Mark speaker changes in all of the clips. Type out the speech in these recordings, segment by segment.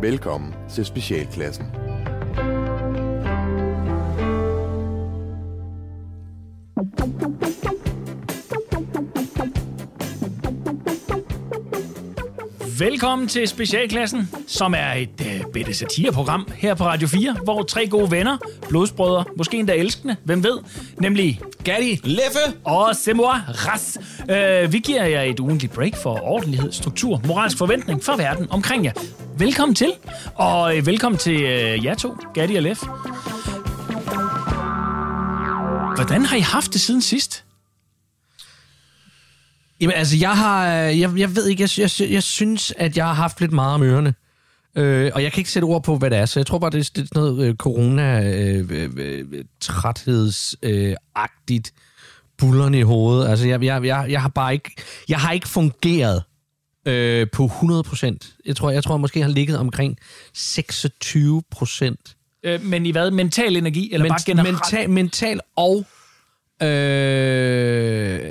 Speaker 1: Velkommen til Specialklassen.
Speaker 2: Velkommen til Specialklassen, som er et øh, bitte satireprogram her på Radio 4, hvor tre gode venner, blodsbrødre, måske endda elskende, hvem ved, nemlig Gatti
Speaker 3: Leffe!
Speaker 2: og Semua Ras. Øh, vi giver jer et ugentligt break for ordentlighed, struktur, moralsk forventning for verden omkring jer. Velkommen til, og øh, velkommen til øh, jer to, Gatti og Lef. Hvordan har I haft det siden sidst?
Speaker 3: Jamen altså, jeg har, jeg, jeg ved ikke, jeg, jeg, jeg synes, at jeg har haft lidt meget om ørerne. Øh, og jeg kan ikke sætte ord på, hvad det er, så jeg tror bare, det er sådan noget øh, corona-træthedsagtigt øh, øh, agtigt øh, bullerne i hovedet. Altså, jeg, jeg, jeg, jeg har bare ikke, jeg har ikke fungeret øh, på 100 procent. Jeg tror, jeg tror, jeg måske har ligget omkring 26 procent.
Speaker 2: Øh, men i hvad? Mental energi, eller men, bare generelt?
Speaker 3: Mental, mental og... Øh,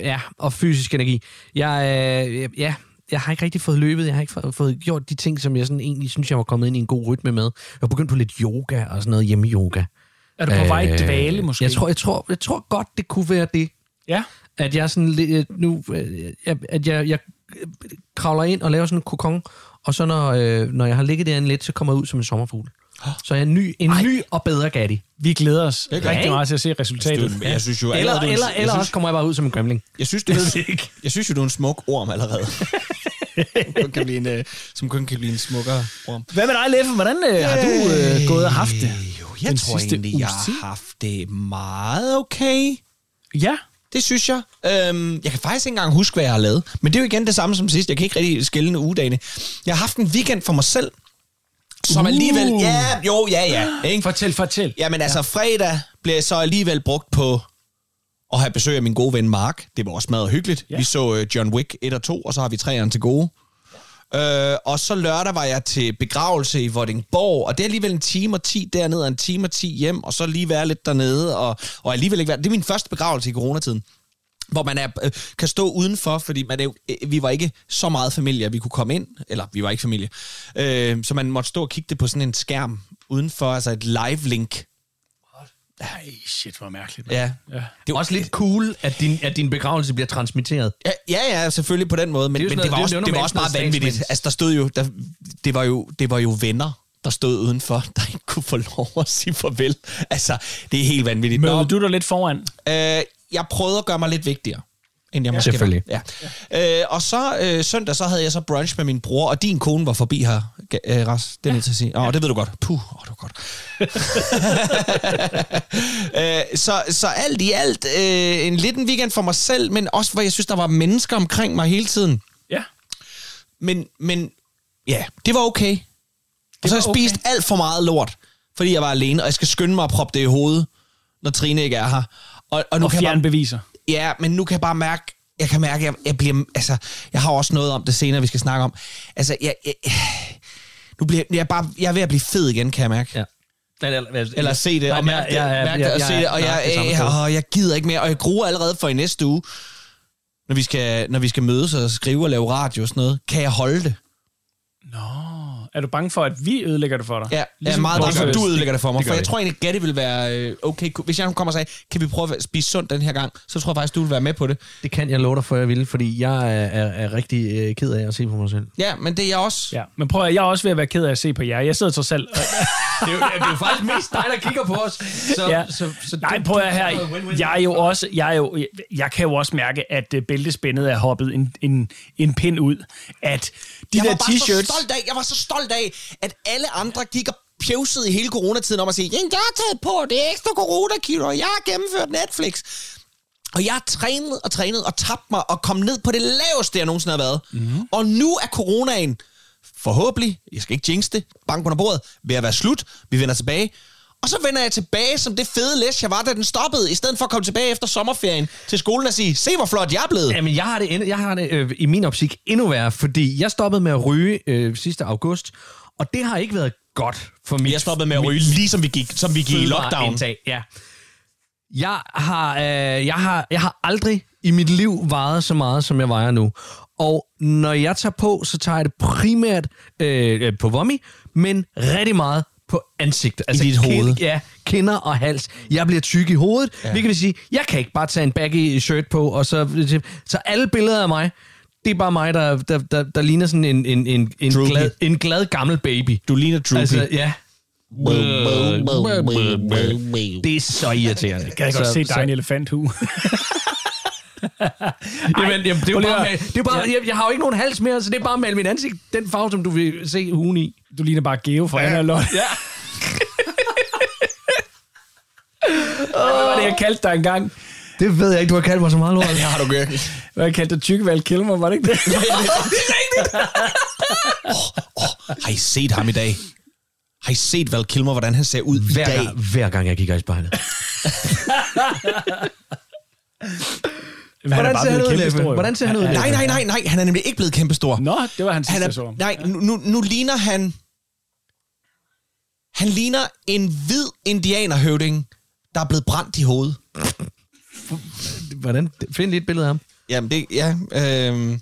Speaker 3: ja, og fysisk energi. Jeg, øh, ja, jeg har ikke rigtig fået løbet. Jeg har ikke fået, fået gjort de ting, som jeg sådan egentlig synes, jeg var kommet ind i en god rytme med. Jeg har begyndt på lidt yoga og sådan noget hjemme-yoga.
Speaker 2: er du på vej i dvale,
Speaker 3: Øh,
Speaker 2: måske?
Speaker 3: Jeg tror, jeg, tror, jeg tror godt, det kunne være det.
Speaker 2: Ja.
Speaker 3: At jeg sådan lidt, øh, nu, øh, jeg- at jeg, jeg øh, kravler ind og laver sådan en kokon, og så når, øh, når jeg har ligget derinde lidt, så kommer jeg ud som en sommerfugl. Så jeg er en ny, en ny og bedre gatti.
Speaker 2: Vi glæder os
Speaker 4: Det gør
Speaker 2: rigtig
Speaker 4: jeg.
Speaker 2: meget til at se resultatet.
Speaker 4: Du, jeg synes jo
Speaker 3: Eller,
Speaker 4: allerede, du er en-
Speaker 3: eller,
Speaker 4: jeg
Speaker 3: eller
Speaker 4: synes,
Speaker 3: også kommer jeg bare ud som en gremling.
Speaker 4: Jeg synes, det er, jeg synes jo, du er en smuk orm allerede. som, kun kan blive en, øh, som kun kan blive en smukkere orm.
Speaker 2: Hvad med dig, Leffe? Hvordan øh, har du øh, gået og haft det?
Speaker 4: Jo, jeg
Speaker 2: Den
Speaker 4: tror
Speaker 2: sidste
Speaker 4: egentlig,
Speaker 2: uges
Speaker 4: jeg har
Speaker 2: tid?
Speaker 4: haft det meget okay.
Speaker 2: Ja.
Speaker 4: Det synes jeg. Øhm, jeg kan faktisk ikke engang huske, hvad jeg har lavet. Men det er jo igen det samme som sidst. Jeg kan ikke rigtig skille ugedagene. Jeg har haft en weekend for mig selv. Som
Speaker 2: Uh.
Speaker 4: alligevel... Ja, jo, ja, ja. Ikke?
Speaker 2: Fortæl, fortæl.
Speaker 4: Jamen altså, fredag blev jeg så alligevel brugt på at have besøg af min gode ven Mark. Det var også meget hyggeligt.
Speaker 2: Ja.
Speaker 4: Ja. Vi så øh, John Wick 1 og 2, og så har vi 3'eren til gode. Øh, og så lørdag var jeg til begravelse i Vordingborg, og det er alligevel en time og ti dernede, og en time og ti hjem, og så lige være lidt dernede, og, og alligevel ikke være... Det er min første begravelse i coronatiden hvor man er, øh, kan stå udenfor, fordi man er jo, øh, vi var ikke så meget familie, at vi kunne komme ind, eller vi var ikke familie, øh, så man måtte stå og kigge det på sådan en skærm udenfor, altså et live-link.
Speaker 2: Ej, shit, hvor mærkeligt. mand.
Speaker 4: Ja.
Speaker 2: ja.
Speaker 3: Det er også lidt cool, at din, at din begravelse bliver transmitteret.
Speaker 4: Ja, ja, ja, selvfølgelig på den måde, men
Speaker 3: Det er jo
Speaker 4: det,
Speaker 3: sådan
Speaker 4: men
Speaker 3: noget-
Speaker 4: det
Speaker 3: det er
Speaker 4: var, også,
Speaker 3: jo
Speaker 4: det var
Speaker 3: normalt
Speaker 4: også
Speaker 3: noget
Speaker 4: meget vanvittigt.
Speaker 3: statsminister.
Speaker 4: Altså, der stod jo, der, det, var jo, det var jo venner, der stod udenfor, der ikke kunne få lov at sige farvel. Altså, det er helt vanvittigt. Nå,
Speaker 2: Mødte du dig lidt foran?
Speaker 4: Øh, jeg prøvede at gøre mig lidt vigtigere, end jeg ja, måske
Speaker 3: selvfølgelig.
Speaker 4: var. Ja. Øh, og så øh, søndag, så havde jeg så brunch med min bror, og din kone var forbi her, Ga- øh, Ras. Det er jeg nødt til at sige. Åh, det ved du godt. Puh, åh, det var godt. øh, så, så alt i alt, øh, en lidt en weekend for mig selv, men også hvor jeg synes, der var mennesker omkring mig hele tiden.
Speaker 2: Ja.
Speaker 4: Men, men ja, det var okay. og så har
Speaker 2: var
Speaker 4: jeg spist
Speaker 2: okay.
Speaker 4: alt for meget lort, fordi jeg var alene, og jeg skal skynde mig at proppe det i hovedet, når Trine ikke er her. Og, nu
Speaker 2: Og
Speaker 4: kan jeg bare-
Speaker 2: fjerne beviser.
Speaker 4: Ja, men nu kan jeg bare mærke, jeg kan mærke, jeg, jeg bliver, altså, jeg har også noget om det senere, vi skal snakke om. Altså, jeg, jeg, nu bliver jeg, er bare, jeg er ved at blive fed igen, kan jeg mærke. Ja. Eller se det, og mærke det, mærke det, og se det, og jeg, jeg, åh, jeg gider ikke mere, og jeg gruer allerede for i næste uge, når vi skal, når vi skal mødes og skrive og lave radio og sådan noget. Kan jeg holde det?
Speaker 2: Er du bange for, at vi ødelægger det for dig?
Speaker 4: Ja, jeg er Altså, meget
Speaker 2: vores-
Speaker 4: bange for, at du ødelægger det for mig,
Speaker 3: Det gør
Speaker 4: for jeg
Speaker 3: det.
Speaker 4: tror egentlig, Gatti vil være øh, okay. Hvis jeg nu kommer og sagde, kan vi prøve at spise sundt den her gang, så tror jeg faktisk, du vil være med på det.
Speaker 3: Det kan jeg love dig for, jeg vil, fordi jeg er, er, er rigtig øh, ked af at se på mig selv.
Speaker 4: Ja, men det er jeg også.
Speaker 2: Ja, men prøv at jeg er også ved at være ked af at se på jer. Jeg sidder trods alt.
Speaker 3: Det er, jo, det er jo faktisk mest dig, der kigger på os. Så,
Speaker 2: Ja. Nej, prøv at her. Jeg er jo også, jeg, er jo, jeg, jeg kan jo også mærke, at øh, bæltespændet er hoppet en, en, en pind ud. At de
Speaker 4: jeg
Speaker 2: der
Speaker 4: var bare så
Speaker 2: t-shirts...
Speaker 4: stolt af, jeg var så stolt af, at alle andre gik og pjevsede i hele coronatiden om at sige, "Jamen, jeg har taget på det er ekstra coronakilo, og jeg har gennemført Netflix. Og jeg har trænet og trænet og tabt mig og kom ned på det laveste, jeg nogensinde har været.
Speaker 2: Mhm.
Speaker 4: Mm-hmm. Og nu er coronaen forhåbentlig, jeg skal ikke jinx det, bank under bordet, ved at være slut, vi vender tilbage. Og så vender jeg tilbage som det fede læs, jeg var, da den stoppede, i stedet for at komme tilbage efter sommerferien til skolen og sige, se hvor flot jeg er blevet.
Speaker 3: Jamen, jeg har det, endnu- jeg har det øh, i min optik endnu værre, fordi jeg stoppede med at ryge øh, sidste august, og det har ikke været godt for mit
Speaker 4: Jeg stoppede med at ryge, ligesom vi gik, som vi gik i lockdown.
Speaker 3: fødevareindtag, Ja. Jeg har, øh, jeg har, jeg har aldrig i mit liv vejet så meget, som jeg vejer nu. Og når jeg tager på, så tager jeg det primært øh, øh, på vommi, men rigtig meget på ansigtet. Altså
Speaker 4: dit hoved.
Speaker 3: kind- Ja, kinder og hals. Jeg bliver tyk i hovedet, ja. hvilket vil sige, jeg kan ikke bare tage en baggy shirt på, og så, så alle billeder af mig, det er bare mig, der, der, der, der ligner sådan en, en, en, en,
Speaker 4: Droopy.
Speaker 3: glad, en glad gammel baby.
Speaker 4: Du ligner Droopy.
Speaker 3: Altså, ja.
Speaker 4: Det
Speaker 3: Det er så irriterende.
Speaker 2: Kan jeg godt
Speaker 3: så,
Speaker 2: se dig i en elefanthue?
Speaker 3: Jamen, jamen, det er jo
Speaker 2: Prøv lige
Speaker 3: bare,
Speaker 2: at-
Speaker 3: at- det er bare jeg, jeg har jo ikke nogen hals mere, så det er bare at male min ansigt, den farve, som du vil se hugen i.
Speaker 2: Du ligner bare Geo fra Anna og Lotte. Ja. Hvad var det, jeg kaldte dig engang?
Speaker 3: Det ved jeg ikke, du har kaldt mig så meget lort. ja.
Speaker 4: har du gjort.
Speaker 2: Hvad jeg kaldte dig Tykkeval Kilmer, var det ikke det?
Speaker 4: Har I set ham i dag? Har I set Val Kilmer, hvordan han ser ud i
Speaker 3: hver,
Speaker 4: dag?
Speaker 3: gang, hver gang jeg kigger i spejlet.
Speaker 2: Men han er bare blevet kæmpestor, jo.
Speaker 3: Hvordan ser han ud?
Speaker 4: Nej, nej, nej, nej. Han er nemlig ikke blevet kæmpestor.
Speaker 2: Nå, det var hans
Speaker 4: han
Speaker 2: sidste
Speaker 4: er,
Speaker 2: sæson.
Speaker 4: nej, nu, nu, nu ligner han... Han ligner en hvid indianerhøvding, der er blevet brændt i hovedet.
Speaker 3: Hvordan? Find lige et billede af ham.
Speaker 4: Jamen, det... Ja, øh,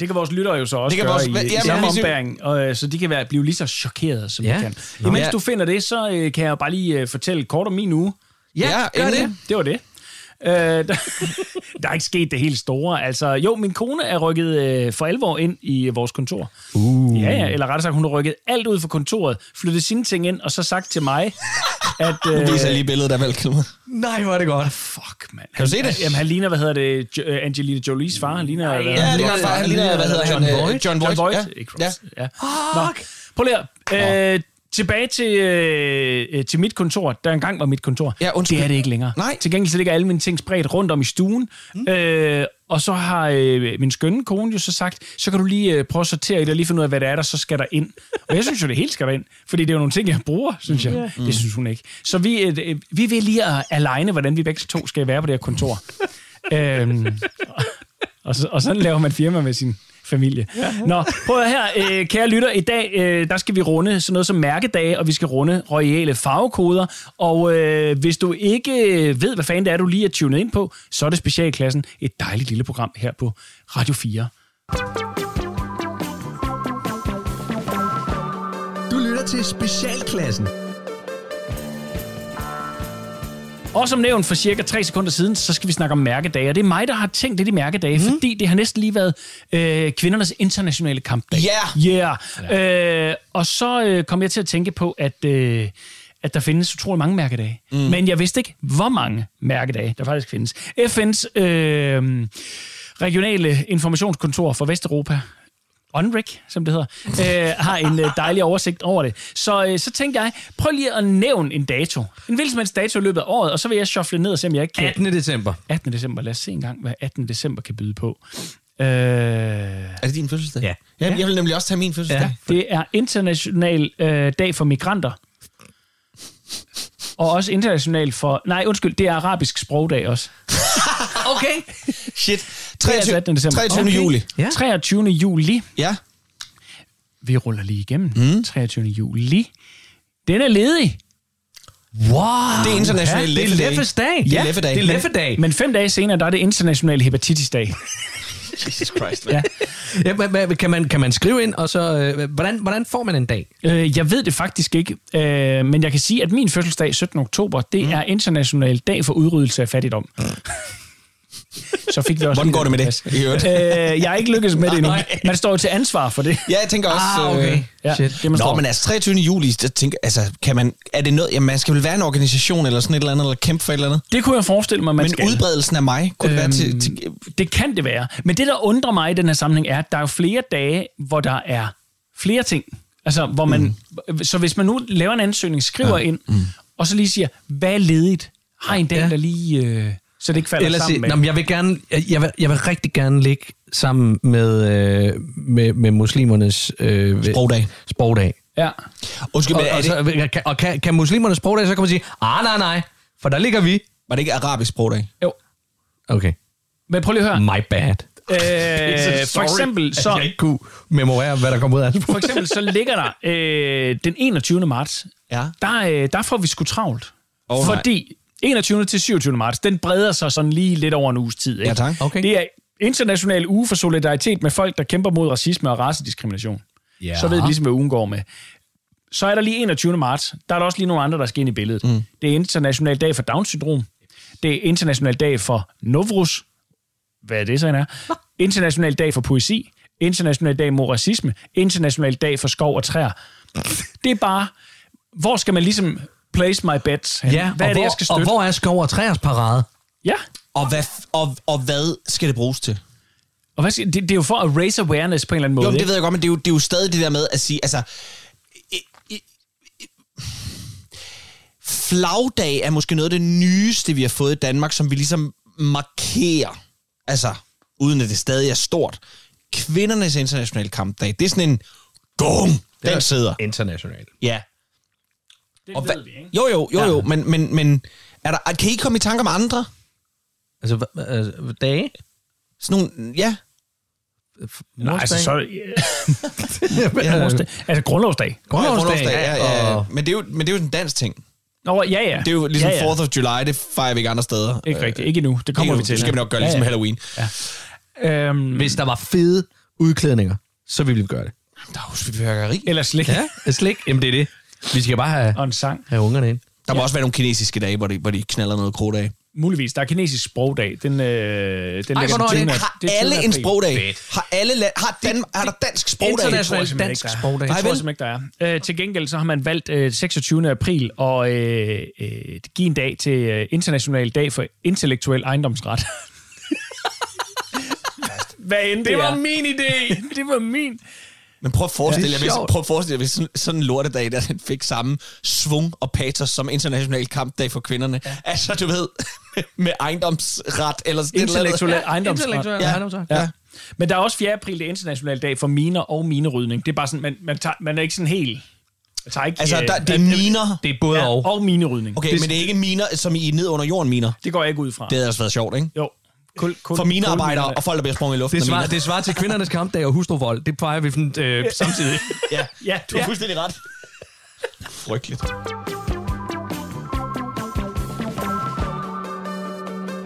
Speaker 2: Det kan vores lyttere jo så også
Speaker 4: Det kan
Speaker 2: gøre
Speaker 4: vores-
Speaker 2: i,
Speaker 4: Jamen,
Speaker 2: i samme
Speaker 4: hvis vi-
Speaker 2: ombæring, og, øh, så de kan være, blive lige så chokerede, som ja.
Speaker 3: Ja.
Speaker 2: de kan.
Speaker 3: Nå.
Speaker 2: Imens
Speaker 4: Ja.
Speaker 2: du finder det, så øh, kan jeg jo bare lige øh, fortælle kort om min uge.
Speaker 4: Ja,
Speaker 3: gør
Speaker 4: endelig.
Speaker 3: det.
Speaker 2: Det var det. Øh, der, der er ikke sket det helt store. Altså, jo, min kone er rykket øh, for alvor ind i øh, vores kontor. Uh. Ja, ja, eller rettere sagt, hun har rykket alt ud fra kontoret, flyttet sine ting ind, og så sagt til mig, at... Øh,
Speaker 4: det viser lige billedet af Val Kilmer.
Speaker 3: Nej, hvor er det godt.
Speaker 2: Fuck, mand.
Speaker 4: Kan du se det?
Speaker 2: Jamen, han ligner, hvad hedder det, Jo- øh, Angelina Jolies far. Han ligner, hvad,
Speaker 4: Ja, det gør han. Han ligner, hvad hedder han? øh, John Voight.
Speaker 2: John Voight.
Speaker 4: Ja.
Speaker 2: Ikke
Speaker 4: ja.
Speaker 2: Ross. Ja. Nå, prøv lige at- øh, Tilbage til, øh, øh, til mit kontor, der engang var mit kontor.
Speaker 4: Ja, undskyld.
Speaker 2: Det er det ikke længere.
Speaker 4: Nej.
Speaker 2: Til gengæld så ligger alle mine ting spredt rundt om i stuen. Mm. Øh, og så har øh, min skønne kone jo så sagt, så kan du lige øh, prøve at sortere i det og lige finde ud af, hvad det er, der så skal der ind. og jeg synes jo, det helt skal der ind, fordi det er jo nogle ting, jeg bruger, synes jeg. Mm. Det synes hun ikke. Så vi, øh, øh, vi vil lige at aligne, hvordan vi begge to skal være på det her kontor. øhm, og, så, og sådan laver man firma med sin familie. Ja. Nå, prøv at her, øh, kære lytter. I dag, øh, der skal vi runde sådan noget som mærkedage, og vi skal runde royale farvekoder. Og øh, hvis du ikke ved, hvad fanden det er, du lige er tunet ind på, så er det Specialklassen, et dejligt lille program her på Radio 4.
Speaker 5: Du lytter til Specialklassen.
Speaker 2: Og som nævnt for cirka 3 sekunder siden, så skal vi snakke om mærkedage. Og det er mig, der har tænkt lidt i mærkedage, mm. fordi det har næsten lige været øh, kvindernes internationale kampdag. Yeah. yeah. Øh, og så øh, kom jeg til at tænke på, at, øh, at der findes utrolig mange mærkedage. Mm. Men jeg vidste ikke, hvor mange mærkedage der faktisk findes. FN's øh, regionale informationskontor for Vesteuropa, ONRIC, som det hedder, øh, har en øh, dejlig oversigt over det. Så, øh, så tænkte jeg, prøv lige at nævne en dato. En hvilken som helst dato i løbet af året, og så vil jeg shuffle ned og se, om jeg ikke kan...
Speaker 3: 18. december.
Speaker 2: 18. december. Lad os se engang, hvad 18. december kan byde på. Øh,
Speaker 4: Er det din fødselsdag?
Speaker 3: Ja.
Speaker 4: ja. Jeg vil nemlig også tage min fødselsdag.
Speaker 3: Ja.
Speaker 2: Det er international øh, dag for migranter. Og også international for... Nej, undskyld, det er arabisk sprogdag også.
Speaker 3: Okay.
Speaker 4: Shit.
Speaker 2: altså 18. december.
Speaker 4: 23.
Speaker 2: Okay.
Speaker 4: juli.
Speaker 2: Ja. 23. juli.
Speaker 4: Ja.
Speaker 2: Vi ruller lige igennem. Mm. 23. juli. Den er ledig.
Speaker 3: Wow.
Speaker 4: Det er international
Speaker 3: ja, Det
Speaker 4: leffedag.
Speaker 3: er leffedag.
Speaker 4: Det er
Speaker 3: Ja,
Speaker 4: leffedag.
Speaker 3: Det er leffedag.
Speaker 2: Men fem dage senere, der er det international hepatitisdag.
Speaker 4: Jesus Christ.
Speaker 2: Ja.
Speaker 3: Ja, hvad- hvad- kan, man, kan man skrive ind, og så... Øh, hvordan, hvordan får man en dag?
Speaker 2: Øh, jeg ved det faktisk ikke, øh, men jeg kan sige, at min fødselsdag 17. oktober, det mm. er international dag for udryddelse af fattigdom. Så fik vi også...
Speaker 4: Hvordan går det med det?
Speaker 2: Pas.
Speaker 4: I øvrigt.
Speaker 2: Øh, jeg er ikke lykkedes med det endnu.
Speaker 3: Nej.
Speaker 2: Man står jo til ansvar for det.
Speaker 4: Ja, jeg tænker også...
Speaker 2: Ah,
Speaker 4: øh,
Speaker 2: Ja,
Speaker 3: Shit.
Speaker 2: det man
Speaker 4: Nå,
Speaker 2: står.
Speaker 4: men altså 23. juli, der tænker, altså, kan man, er det noget, jamen, man skal vel være en organisation eller sådan et eller andet, eller kæmpe for et eller andet.
Speaker 2: Det kunne jeg forestille mig, man
Speaker 4: Men
Speaker 2: skal.
Speaker 4: udbredelsen af mig kunne øhm, være til, til
Speaker 2: Det kan det være. Men det, der undrer mig i den her sammenhæng, er, at der er jo flere dage, hvor der er flere ting. Altså, hvor man... Mm. Så hvis man nu laver en ansøgning, skriver ja. ind, mm. og så lige siger, hvad er ledigt? Har I en dag, ja.
Speaker 3: Ja.
Speaker 2: der lige... Øh, så det ikke falder
Speaker 3: Ellers,
Speaker 2: sammen
Speaker 3: sige,
Speaker 2: med...
Speaker 3: nå, men jeg vil gerne, jeg, jeg, vil, jeg vil rigtig gerne ligge sammen med, øh, med, med muslimernes øh,
Speaker 4: sprogdag.
Speaker 3: sprogdag.
Speaker 2: Ja.
Speaker 4: Undskyld,
Speaker 3: Og,
Speaker 4: men er
Speaker 3: og,
Speaker 4: det,
Speaker 3: så, kan, og kan, kan muslimernes sprogdag, så kan man sige, ah nej nej, for der ligger vi.
Speaker 4: var det ikke arabisk sprogdag?
Speaker 2: Jo.
Speaker 3: Okay,
Speaker 2: Men prøv lige at høre.
Speaker 3: my bad.
Speaker 2: Øh, for eksempel
Speaker 3: så... jeg
Speaker 2: så...
Speaker 3: ikke kunne memorere, hvad der kom ud af det.
Speaker 2: For eksempel så ligger der øh, den 21. marts,
Speaker 4: Ja.
Speaker 2: der, øh, der får vi sgu travlt.
Speaker 4: Åh, nej.
Speaker 2: fordi 21. til 27. marts. Den breder sig sådan lige lidt over en uges tid. Ikke?
Speaker 4: Ja, tak.
Speaker 3: Okay.
Speaker 2: Det er international uge for solidaritet med folk, der kæmper mod racisme og racediskrimination.
Speaker 3: Ja.
Speaker 2: Så ved vi ligesom, hvad ugen går med. Så er der lige 21. marts. Der er der også lige nogle andre, der skal ind i billedet. Mm. Det er international dag for Down-syndrom. Det er international dag for Novrus. Hvad er det så, han er? International dag for poesi. International dag mod racisme. International dag for skov og træer. Det er bare, hvor skal man ligesom place my bets? hen?
Speaker 3: Ja,
Speaker 2: hvad
Speaker 3: og,
Speaker 2: er det,
Speaker 3: hvor,
Speaker 2: jeg skal støtte?
Speaker 3: og hvor er skov og træers parade?
Speaker 2: Ja.
Speaker 4: Og hvad, f- og, og hvad skal det bruges til?
Speaker 2: Og hvad siger, det, det er jo for at raise awareness på en eller anden måde.
Speaker 4: Jo, men
Speaker 2: ikke?
Speaker 4: det ved jeg godt, men det er, jo, det er jo stadig det der med at sige, altså... i- i- i- Flagdag er måske noget af det nyeste, vi har fået i Danmark, som vi ligesom markerer, altså uden at det stadig er stort. Kvindernes internationale kampdag, det er sådan en... Gung! Den sidder.
Speaker 3: International.
Speaker 4: Ja.
Speaker 2: det
Speaker 4: Og
Speaker 2: ved
Speaker 4: hva-
Speaker 2: vi, ikke?
Speaker 4: jo, jo, jo, jo, men, men, men er der, kan I komme i tanke om andre?
Speaker 3: Altså, hva- hva- altså dage?
Speaker 4: Sådan nogle, ja.
Speaker 2: Nej, altså, så,
Speaker 3: ja,
Speaker 2: altså grundlovsdag.
Speaker 3: Grundlovsdag,
Speaker 4: ja, ja, ja.
Speaker 3: og-
Speaker 4: Men det er jo, men det er jo en dansk ting.
Speaker 2: Nå, ja, ja.
Speaker 4: Det er jo ligesom
Speaker 2: ja, ja.
Speaker 4: 4th of July, det fejrer vi ikke andre steder.
Speaker 2: Ikke rigtigt, ikke endnu. Det kommer
Speaker 4: Ikke
Speaker 2: vi
Speaker 4: nu.
Speaker 2: til.
Speaker 4: Det skal vi nok gøre, ligesom
Speaker 2: ja,
Speaker 4: Halloween.
Speaker 2: ja. Øhm,
Speaker 3: Hvis der var fede udklædninger, så ville vi gøre det.
Speaker 4: Der er jo fyrværkeri.
Speaker 2: eller slik ja.
Speaker 3: Et slik? Jamen, det er det. Vi skal bare have,
Speaker 2: og en sang.
Speaker 3: have ungerne ind.
Speaker 4: Der må også være nogle kinesiske dage, hvor de, hvor de knaller noget krudt af.
Speaker 2: Muligvis. Der er kinesisk sprogdag. Den, øh, den Ej, ligger
Speaker 3: hvornår er det?
Speaker 2: den 20.
Speaker 4: Har
Speaker 2: det er 20.
Speaker 4: alle en
Speaker 2: april.
Speaker 4: sprogdag? Har alle la- har Dan- er der dansk sprogdag?
Speaker 2: International
Speaker 3: International
Speaker 2: dansk
Speaker 3: dansk
Speaker 2: sprogdag. Det
Speaker 3: sprogdag.
Speaker 4: Nej,
Speaker 2: tror jeg
Speaker 4: vel?
Speaker 2: simpelthen ikke, der er. Øh, til gengæld så har man valgt øh, 26. april og øh, øh, give en dag til øh, International Dag for Intellektuel Ejendomsret. Hvad end det, det var er. min idé. det var min.
Speaker 4: Men prøv at forestille
Speaker 3: Ja,
Speaker 4: jer,
Speaker 3: det er
Speaker 4: hvis,
Speaker 3: sjovt.
Speaker 4: prøv at forestille jer, hvis sådan, sådan en lortedag, der den fik samme svung og patos som international kampdag for kvinderne. Ja. Altså, du ved, med ejendomsret eller sådan et eller andet.
Speaker 2: Intellektuel ejendomsret.
Speaker 3: Intellektuel
Speaker 4: Ja.
Speaker 3: ejendomsret.
Speaker 2: Ja. Men der er også 4. april, det er international dag for miner og minerydning. Det er bare sådan, man, man, tager, man er ikke sådan helt... Man tager ikke,
Speaker 4: Altså,
Speaker 2: øh,
Speaker 4: der, det er miner.
Speaker 3: Det er både
Speaker 2: ja,
Speaker 3: ja, og.
Speaker 2: og minerydning.
Speaker 4: Okay, men det er ikke miner, som i ned under jorden miner.
Speaker 2: Det går jeg ikke ud fra.
Speaker 4: Det havde også været sjovt, ikke?
Speaker 2: Jo. Kul, kul,
Speaker 4: For minearbejdere
Speaker 2: kulminerne.
Speaker 4: og folk, der bliver sprunget i luften
Speaker 3: Det
Speaker 4: af
Speaker 3: svarer,
Speaker 4: miner.
Speaker 3: det svarer til kvindernes kampdag og hustruvold. Det peger vi sådan, øh, samtidig.
Speaker 4: Ja,
Speaker 2: Ja,
Speaker 4: du har
Speaker 2: ja.
Speaker 4: fuldstændig ret. Frygteligt.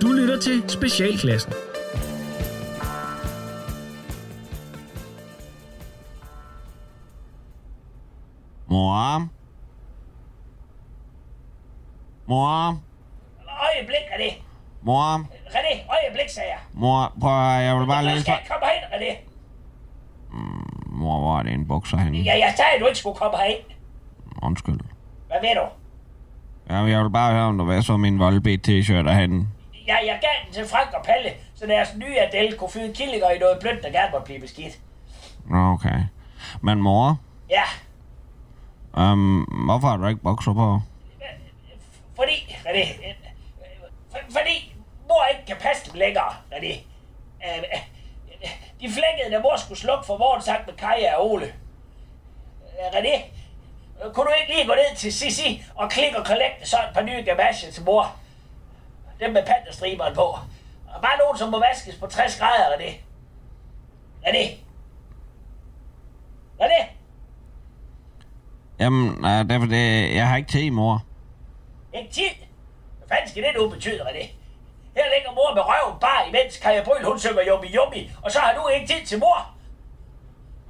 Speaker 2: Du lytter til Specialklassen.
Speaker 4: Mor. Mor.
Speaker 6: Øjeblik, René.
Speaker 4: Mor.
Speaker 6: René, øjeblik, sagde jeg.
Speaker 4: Mor. Prøv at høre, jeg vil bare
Speaker 6: Du
Speaker 4: læse
Speaker 6: skal
Speaker 4: for...
Speaker 6: ikke komme herind, René.
Speaker 4: Mor, hvor er det en bukser henne?
Speaker 6: Ja, jeg sagde, at du ikke skulle komme herind.
Speaker 4: Undskyld.
Speaker 6: Hvad ved du?
Speaker 4: Ja, jeg vil bare høre, om du hvad så min voldbet t-shirt derhenne.
Speaker 6: Ja, jeg gav den til Frank og Palle, så deres nye Adele kunne fyde killinger i noget blødt, der gerne måtte blive beskidt.
Speaker 4: Nå, okay. Men mor,
Speaker 6: Ja,
Speaker 4: øhm, hvorfor har du ikke bukser på?
Speaker 6: fordi, René, øh, for, fordi mor ikke kan passe dem længere, René. Øh, øh, øh, De flækkede, da mor skulle slukke for morgensang med Kaja og Ole. Øh, René, øh, kunne du ikke lige gå ned til Sissi og klikke og kollekte sådan et par nye gamasjer til mor? Dem med panderstriberen på. Og bare nogen, som må vaskes på 60 grader, René. René. René.
Speaker 4: Jamen, øh, det er fordi, jeg har ikke tid, mor.
Speaker 6: Ikke tid? Hvad fanden skal det nu betyde, René? Her ligger mor med røven bare imens Kaja Bryl, hun synger yummi yummi, og så har du ikke tid til mor.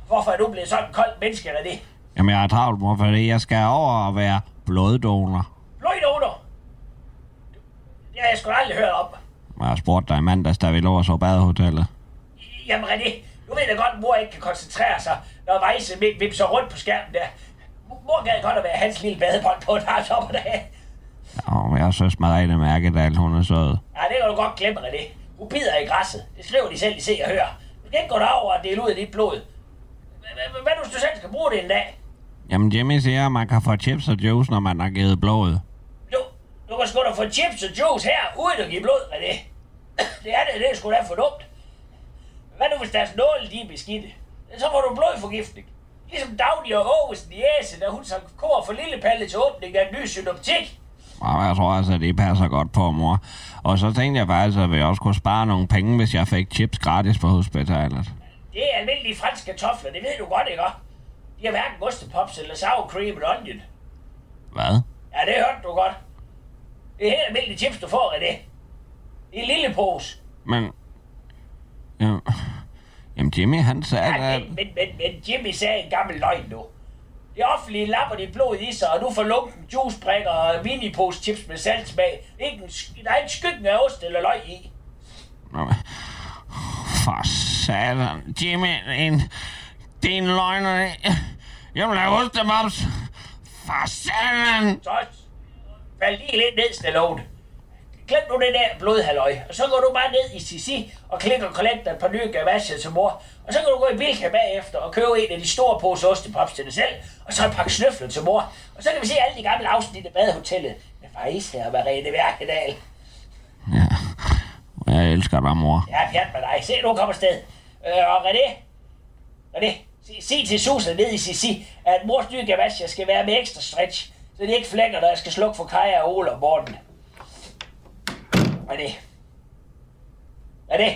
Speaker 6: Hvorfor er du blevet sådan en kold menneske, René?
Speaker 4: Jamen, jeg har travlt, mor, fordi jeg skal over og være bloddonor.
Speaker 6: Bløjt under! Det har jeg sgu da aldrig hørt om.
Speaker 4: Jeg har spurgt dig i mandags, da vi lå og så badehotellet.
Speaker 6: Jamen René, du ved da godt, at mor ikke kan koncentrere sig, når Vejse Mik vipser rundt på skærmen der. Mor gad godt at være hans lille badebold på en aftopperdag.
Speaker 4: Og jeg synes, Marianne Mærkedal, hun er sød.
Speaker 6: Ja, det kan du godt glemme, René. Du bider i græsset. Det skriver de selv i Se og Hør. Du skal ikke gå derover og dele ud af dit blod. Hvad- hvad- Hvad nu, hvis du selv skal bruge det en dag?
Speaker 4: Jamen, Jimmy siger, at man kan få chips og juice, når man har givet blod.
Speaker 6: Du, du kan sgu da få chips og juice her, uden at give blod, René. Det er det, det er sgu da for dumt. Hvad nu, hvis deres nåle de er beskidte? Så får du blodforgiftning. Ligesom Dagny og Aarhusen i Æse, da hun sang kor for lille palle til åbningen af den nye synoptik.
Speaker 4: Og jeg tror altså, at det passer godt på, mor. Og så tænkte jeg faktisk, at vi også kunne spare nogle penge, hvis jeg fik chips gratis på hospitalet.
Speaker 6: Det er almindelige franske kartofler, det ved du godt, ikke? De har hverken ostepops eller sour cream and onion.
Speaker 4: Hvad?
Speaker 6: Ja, det hørte du godt.
Speaker 7: Det er helt almindelige chips, du får af det. I en lille pose.
Speaker 8: Men... Ja, jamen, Jimmy, han sagde,
Speaker 7: Ja,
Speaker 8: at...
Speaker 7: men, men, men, men Jimmy sagde en gammel løgn nu. Det offentlige lapper dit blod i sig, og du får lunken juicebrikker og minipose chips med saltsmag. Ikke en, sk- der er en skyggen af ost eller løg i.
Speaker 8: Nå, men- For satan. Jimmy, en, det er en løgn, og det- jeg vil have ostemobs. For satan.
Speaker 7: Så fald lige lidt ned, Stallone. Glem nu det der blodhalløj, og så går du bare ned i Sisi og klikker kollekter et par nye gavasjer til mor. Og så kan du gå i Bilka bagefter og købe en af de store poser ostepops til dig selv, og så en pakke snøfler til mor. Og så kan vi se alle de gamle afsnit af badehotellet med Faisa og Marene Værkedal.
Speaker 8: Ja. Jeg elsker dig, mor.
Speaker 7: Ja, pjat med dig. Se, nu kommer sted. Øh, og René, René, sig, sig til Susan ned i Sisi, at mors nye gavasjer skal være med ekstra stretch, så de ikke flækker, når jeg skal slukke for Kaja og Ole om morgenen. René. René.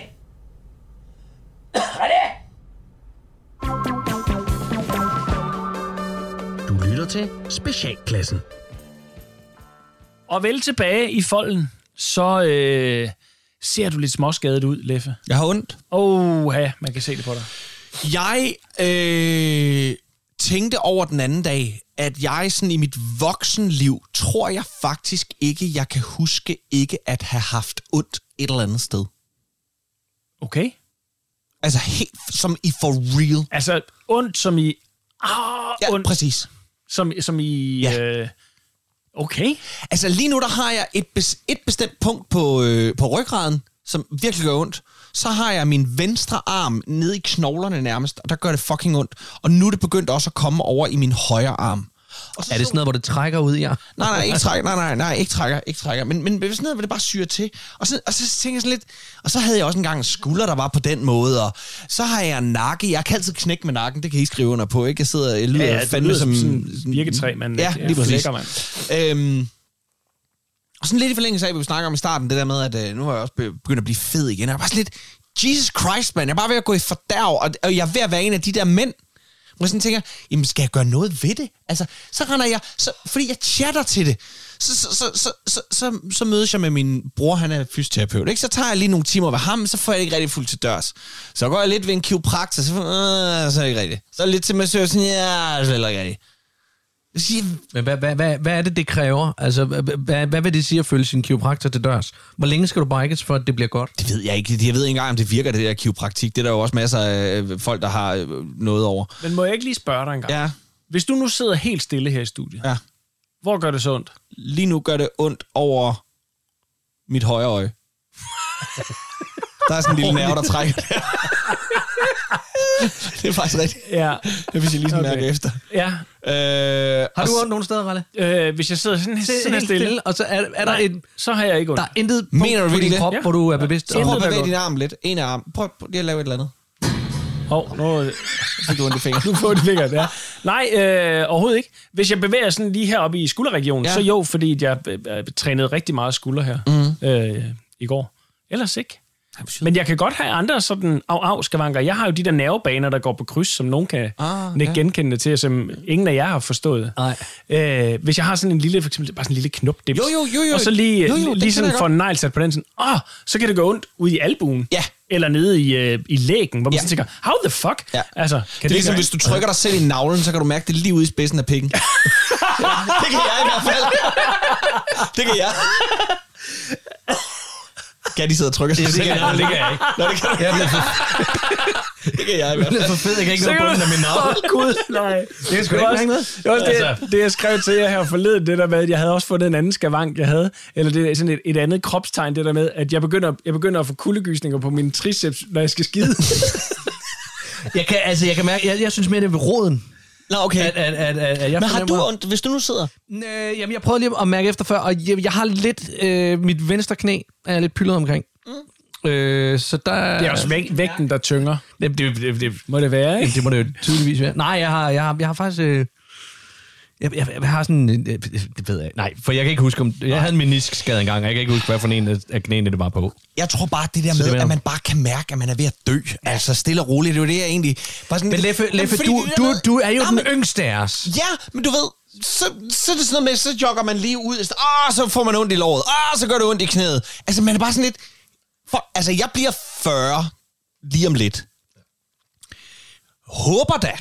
Speaker 7: René!
Speaker 5: Du lytter til Specialklassen.
Speaker 2: Og vel tilbage i folden, så øh, ser du lidt småskadet ud, Leffe.
Speaker 4: Jeg har ondt.
Speaker 2: Åh, ja, man kan se det på dig.
Speaker 4: Jeg øh, tænkte over den anden dag, at jeg sådan i mit voksenliv, tror jeg faktisk ikke, jeg kan huske ikke at have haft ondt et eller andet sted.
Speaker 2: Okay.
Speaker 4: Altså helt som i for real.
Speaker 2: Altså, ondt som i... Ah,
Speaker 4: Ja,
Speaker 2: ondt
Speaker 4: præcis.
Speaker 2: som, som i...
Speaker 4: Ja.
Speaker 2: Øh, okay.
Speaker 4: Altså lige nu, der har jeg et, bes- et bestemt punkt på, øh, på ryggraden, som virkelig gør ondt. Så har jeg min venstre arm nede i knoglerne nærmest, og der gør det fucking ondt. Og nu er det begyndt også at komme over i min højre arm. Og så
Speaker 3: Er det sådan noget, hvor det trækker ud i jer?
Speaker 4: Nej, nej, ikke trækker, nej, nej, nej, ikke trækker, ikke trækker. Men, men sådan noget, hvor det bare syrer til. Og så, og så tænker jeg sådan lidt, og så havde jeg også engang en skulder, der var på den måde, og så har jeg en nakke. Jeg kan altid knække med nakken, det kan I skrive under på, ikke? Jeg sidder, jeg lyder
Speaker 2: Ja,
Speaker 4: ja,
Speaker 2: det
Speaker 4: fandme
Speaker 2: lyder
Speaker 4: som...
Speaker 2: som sådan et virketræ, man
Speaker 4: Ja,
Speaker 2: lidt, øh,
Speaker 4: lige præcis.
Speaker 2: flækker,
Speaker 4: Øhm, og sådan lidt i forlængelse af, hvad vi snakker om i starten, det der med, at øh, nu har jeg også be- begyndt at blive fed igen. Og jeg er bare sådan lidt, Jesus Christ, mand, jeg er bare ved at gå i fordærv, og, og jeg er ved at være en af de der mænd, hvor jeg sådan tænker, jamen skal jeg gøre noget ved det? Altså, så render jeg, så, fordi jeg chatter til det, så, så, så, så, så, så, så mødes jeg med min bror, han er fysioterapeut, ikke? Så tager jeg lige nogle timer ved ham, så får jeg det ikke rigtig fuldt til dørs. Så går jeg lidt ved en kiropraktor, så, øh, så er det ikke rigtigt. Så lidt til massør, sådan, ja, så er det ikke rigtigt. Jeg siger,
Speaker 3: Men hvad, hvad, hvad, hvad er det, det kræver? Altså, hvad, hvad, hvad vil det sige at følge sin kiropraktor til dørs? Hvor længe skal du bikes, for at det bliver godt?
Speaker 4: Det ved jeg ikke. Jeg ved ikke engang, om det virker, det der kiropraktik. Det er der jo også masser af øh, folk, der har øh, noget over.
Speaker 2: Men må jeg ikke lige spørge dig en gang?
Speaker 4: Ja,
Speaker 2: Hvis du nu sidder helt stille her i studiet,
Speaker 4: ja.
Speaker 2: hvor gør det så ondt?
Speaker 4: Lige nu gør det ondt over mit højre øje. der er sådan en lille nerve, der trækker. det er faktisk rigtigt.
Speaker 2: Ja.
Speaker 4: Det vil jeg lige sådan
Speaker 2: Okay.
Speaker 4: mærke efter.
Speaker 2: ja.
Speaker 4: Øh,
Speaker 3: Har
Speaker 4: og
Speaker 3: du
Speaker 4: s-
Speaker 3: ondt nogen steder, Ralle?
Speaker 2: Øh, hvis jeg sidder sådan, sådan her stille,
Speaker 3: og så er, er der,
Speaker 2: Nej,
Speaker 3: et,
Speaker 2: så har jeg ikke ondt.
Speaker 3: der er intet
Speaker 4: Mener
Speaker 3: punkt
Speaker 4: du
Speaker 3: på
Speaker 4: virkelig
Speaker 3: din
Speaker 4: det?
Speaker 3: krop,
Speaker 2: Ja.
Speaker 3: hvor du er bevidst
Speaker 2: Ja.
Speaker 3: om.
Speaker 4: Prøv at
Speaker 2: Intet, der
Speaker 4: bevæge
Speaker 2: går.
Speaker 4: din arm lidt. En af armen. Prøv, prøv lige at lave et eller andet.
Speaker 2: Hov, nu,
Speaker 4: øh, Så fik du ondt i fingeren.
Speaker 2: nu får det fingeren, ja. Nej, øh, overhovedet ikke. Hvis jeg bevæger sådan lige heroppe i skulderregionen, ja.
Speaker 4: Ja.
Speaker 2: så jo, fordi jeg øh, øh, trænede rigtig meget skulder her
Speaker 4: Mhm.
Speaker 2: mm. øh, i går. Ellers ikke. Men jeg kan godt have andre sådan af skavanker. Jeg har jo de der nervebaner, der går på kryds, som nogen kan
Speaker 4: Ah,
Speaker 2: ah, ja. genkende det til, som ingen af jer har forstået.
Speaker 3: Nej.
Speaker 2: Øh, hvis jeg har sådan en lille, for eksempel bare sådan en lille knopdims,
Speaker 4: Jo, jo, jo, jo.
Speaker 2: og så lige, øh,
Speaker 4: Jo, jo, den
Speaker 2: lige sådan
Speaker 4: kender jeg
Speaker 2: får en negl sat på den, sådan, åh, så kan det gå ondt ud i albuen.
Speaker 4: Ja.
Speaker 2: Eller nede i, øh, i lægen, hvor man
Speaker 4: Ja.
Speaker 2: sådan tænker, how the fuck?
Speaker 4: Ja.
Speaker 2: Altså, kan
Speaker 4: Det er ligesom, hvis du trykker dig selv i navlen, så kan du mærke det lige ude i spidsen af pikken. ja, det kan jeg i hvert fald. det kan jeg. Kan de sidde og trykke sig selv? i navlen?
Speaker 3: kan jeg ikke.
Speaker 4: Nå, det kan,
Speaker 3: Jeg er blevet for,
Speaker 4: det kan jeg i hvert
Speaker 3: jeg er
Speaker 4: fald.
Speaker 3: for fed, jeg kan ikke nå
Speaker 2: Så kan
Speaker 3: bunden
Speaker 2: du-
Speaker 3: af min navle.
Speaker 2: Åh, Gud, nej.
Speaker 3: Det er sgu da ikke
Speaker 2: også,
Speaker 3: noget.
Speaker 2: det, var også det,
Speaker 3: Altså.
Speaker 2: det, jeg skrev til jer her forleden, det der med, at jeg havde også fundet en anden skavank, jeg havde. Eller det er sådan et, et andet kropstegn, det der med, at jeg begynder, jeg begynder at få kuldegysninger på mine triceps, når jeg skal skide.
Speaker 3: Jeg kan, altså, jeg kan mærke, jeg, jeg synes mere, det er ved roden.
Speaker 4: Nå, okay.
Speaker 3: At, at, at, at, at jeg
Speaker 4: Men har du
Speaker 3: fornemmer-
Speaker 4: ondt, hvis du nu sidder?
Speaker 3: Øh, jamen, jeg prøvede lige at mærke efter før, og jeg, jeg har lidt... Øh, mit venstre knæ er jeg lidt pyldet omkring. Mm. Øh, så der...
Speaker 2: Det er også væg, vægten, der tynger.
Speaker 3: Jamen, det, det, det,
Speaker 2: Må det være,
Speaker 3: Jamen,
Speaker 2: ikke?
Speaker 3: det må det jo tydeligvis være. Nej, jeg har, jeg har, jeg har faktisk... Øh, jeg, jeg, jeg har sådan... en- Øh, det ved jeg ikke. Nej, for jeg kan ikke huske, om... Jeg havde en meniskskade engang, og jeg kan ikke huske, hvad for en af knæene det var på.
Speaker 4: Jeg tror bare, det der
Speaker 3: det
Speaker 4: med,
Speaker 3: mener
Speaker 4: at
Speaker 3: du?
Speaker 4: man bare kan mærke, at man er ved at dø. Altså, stille og roligt. Det er jo det, jeg egentlig... Bare sådan,
Speaker 3: Men Leffe,
Speaker 4: Jamen,
Speaker 3: Leffe
Speaker 4: fordi
Speaker 3: du,
Speaker 4: det der
Speaker 3: du,
Speaker 4: med-
Speaker 3: du er jo
Speaker 4: Nå,
Speaker 3: den
Speaker 4: men-
Speaker 3: yngste af os.
Speaker 4: Ja, men du ved, så, så er det sådan noget med, så jogger man lige ud, og ah, så får man ondt i låret, ah, så gør det ondt i knæet. Altså, man er bare sådan lidt... For, altså, jeg bliver 40 lige om lidt. Håber da.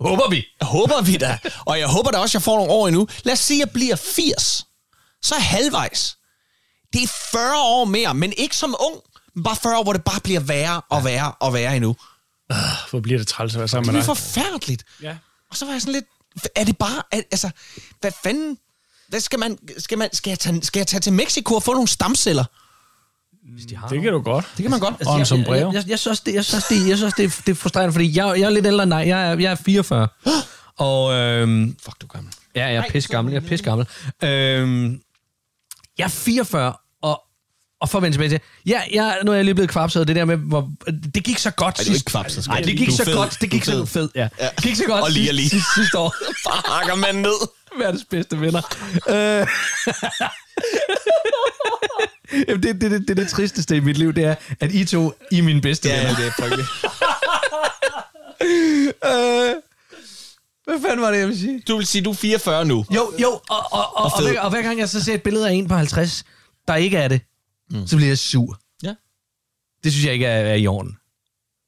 Speaker 3: Håber vi.
Speaker 4: Håber vi da. Og jeg håber da også, jeg får nogle år endnu. Lad os sige, jeg bliver 80. Så er jeg halvvejs. Det er 40 år mere, men ikke som ung. Men Bare 40 år, hvor det bare bliver værre og værre og værre endnu.
Speaker 2: Hvor bliver det træls at være sammen
Speaker 4: Det
Speaker 2: med
Speaker 4: er
Speaker 2: dig?
Speaker 4: forfærdeligt.
Speaker 2: Ja.
Speaker 4: Og så var jeg sådan lidt, er det bare, er, altså, hvad fanden, hvad skal man, skal, man skal, jeg tage, skal jeg tage til Mexico og få nogle stamceller?
Speaker 3: De har
Speaker 2: Det kan du godt.
Speaker 4: Det kan man godt.
Speaker 2: Og en
Speaker 3: Altså, jeg,
Speaker 2: sombrero.
Speaker 3: jeg, jeg, jeg, synes også, det, jeg synes, det, jeg synes det, det er frustrerende, fordi jeg, jeg er lidt ældre end dig. Jeg er, jeg er 44. Og øhm,
Speaker 4: Fuck, du er gammel.
Speaker 3: Ja, jeg er pis gammel. Jeg er pis gammel. Øhm, jeg er 44, og, og for at vende tilbage til, ja, jeg, nu er jeg lige blevet kvapset, og det der med, hvor, det gik så godt
Speaker 4: Ej, du er
Speaker 3: sidst.
Speaker 4: ikke kvapset, skat.
Speaker 3: Nej, det gik
Speaker 4: Du er
Speaker 3: så
Speaker 4: fed.
Speaker 3: godt, det gik
Speaker 4: Du er
Speaker 3: så fed, ja.
Speaker 4: Ja.
Speaker 3: Det gik så godt
Speaker 4: Og lige og lige.
Speaker 3: sidst, sidst, sidste år.
Speaker 4: Fucker man ned.
Speaker 3: Verdens bedste venner. Øh, Jamen, det, det, det, det, er det tristeste i mit liv, det er, at I to, I er mine bedste venner.
Speaker 4: det er frygteligt.
Speaker 3: Hvad fanden var det, jeg ville sige?
Speaker 4: Du vil sige, du er 44 nu.
Speaker 3: Jo, jo, og, og, og, og,
Speaker 4: fed.
Speaker 3: hver, og hver gang jeg så ser et billede af en på 50, der ikke er det, mm. så bliver jeg sur.
Speaker 4: Ja.
Speaker 3: Det synes jeg ikke er, er i orden.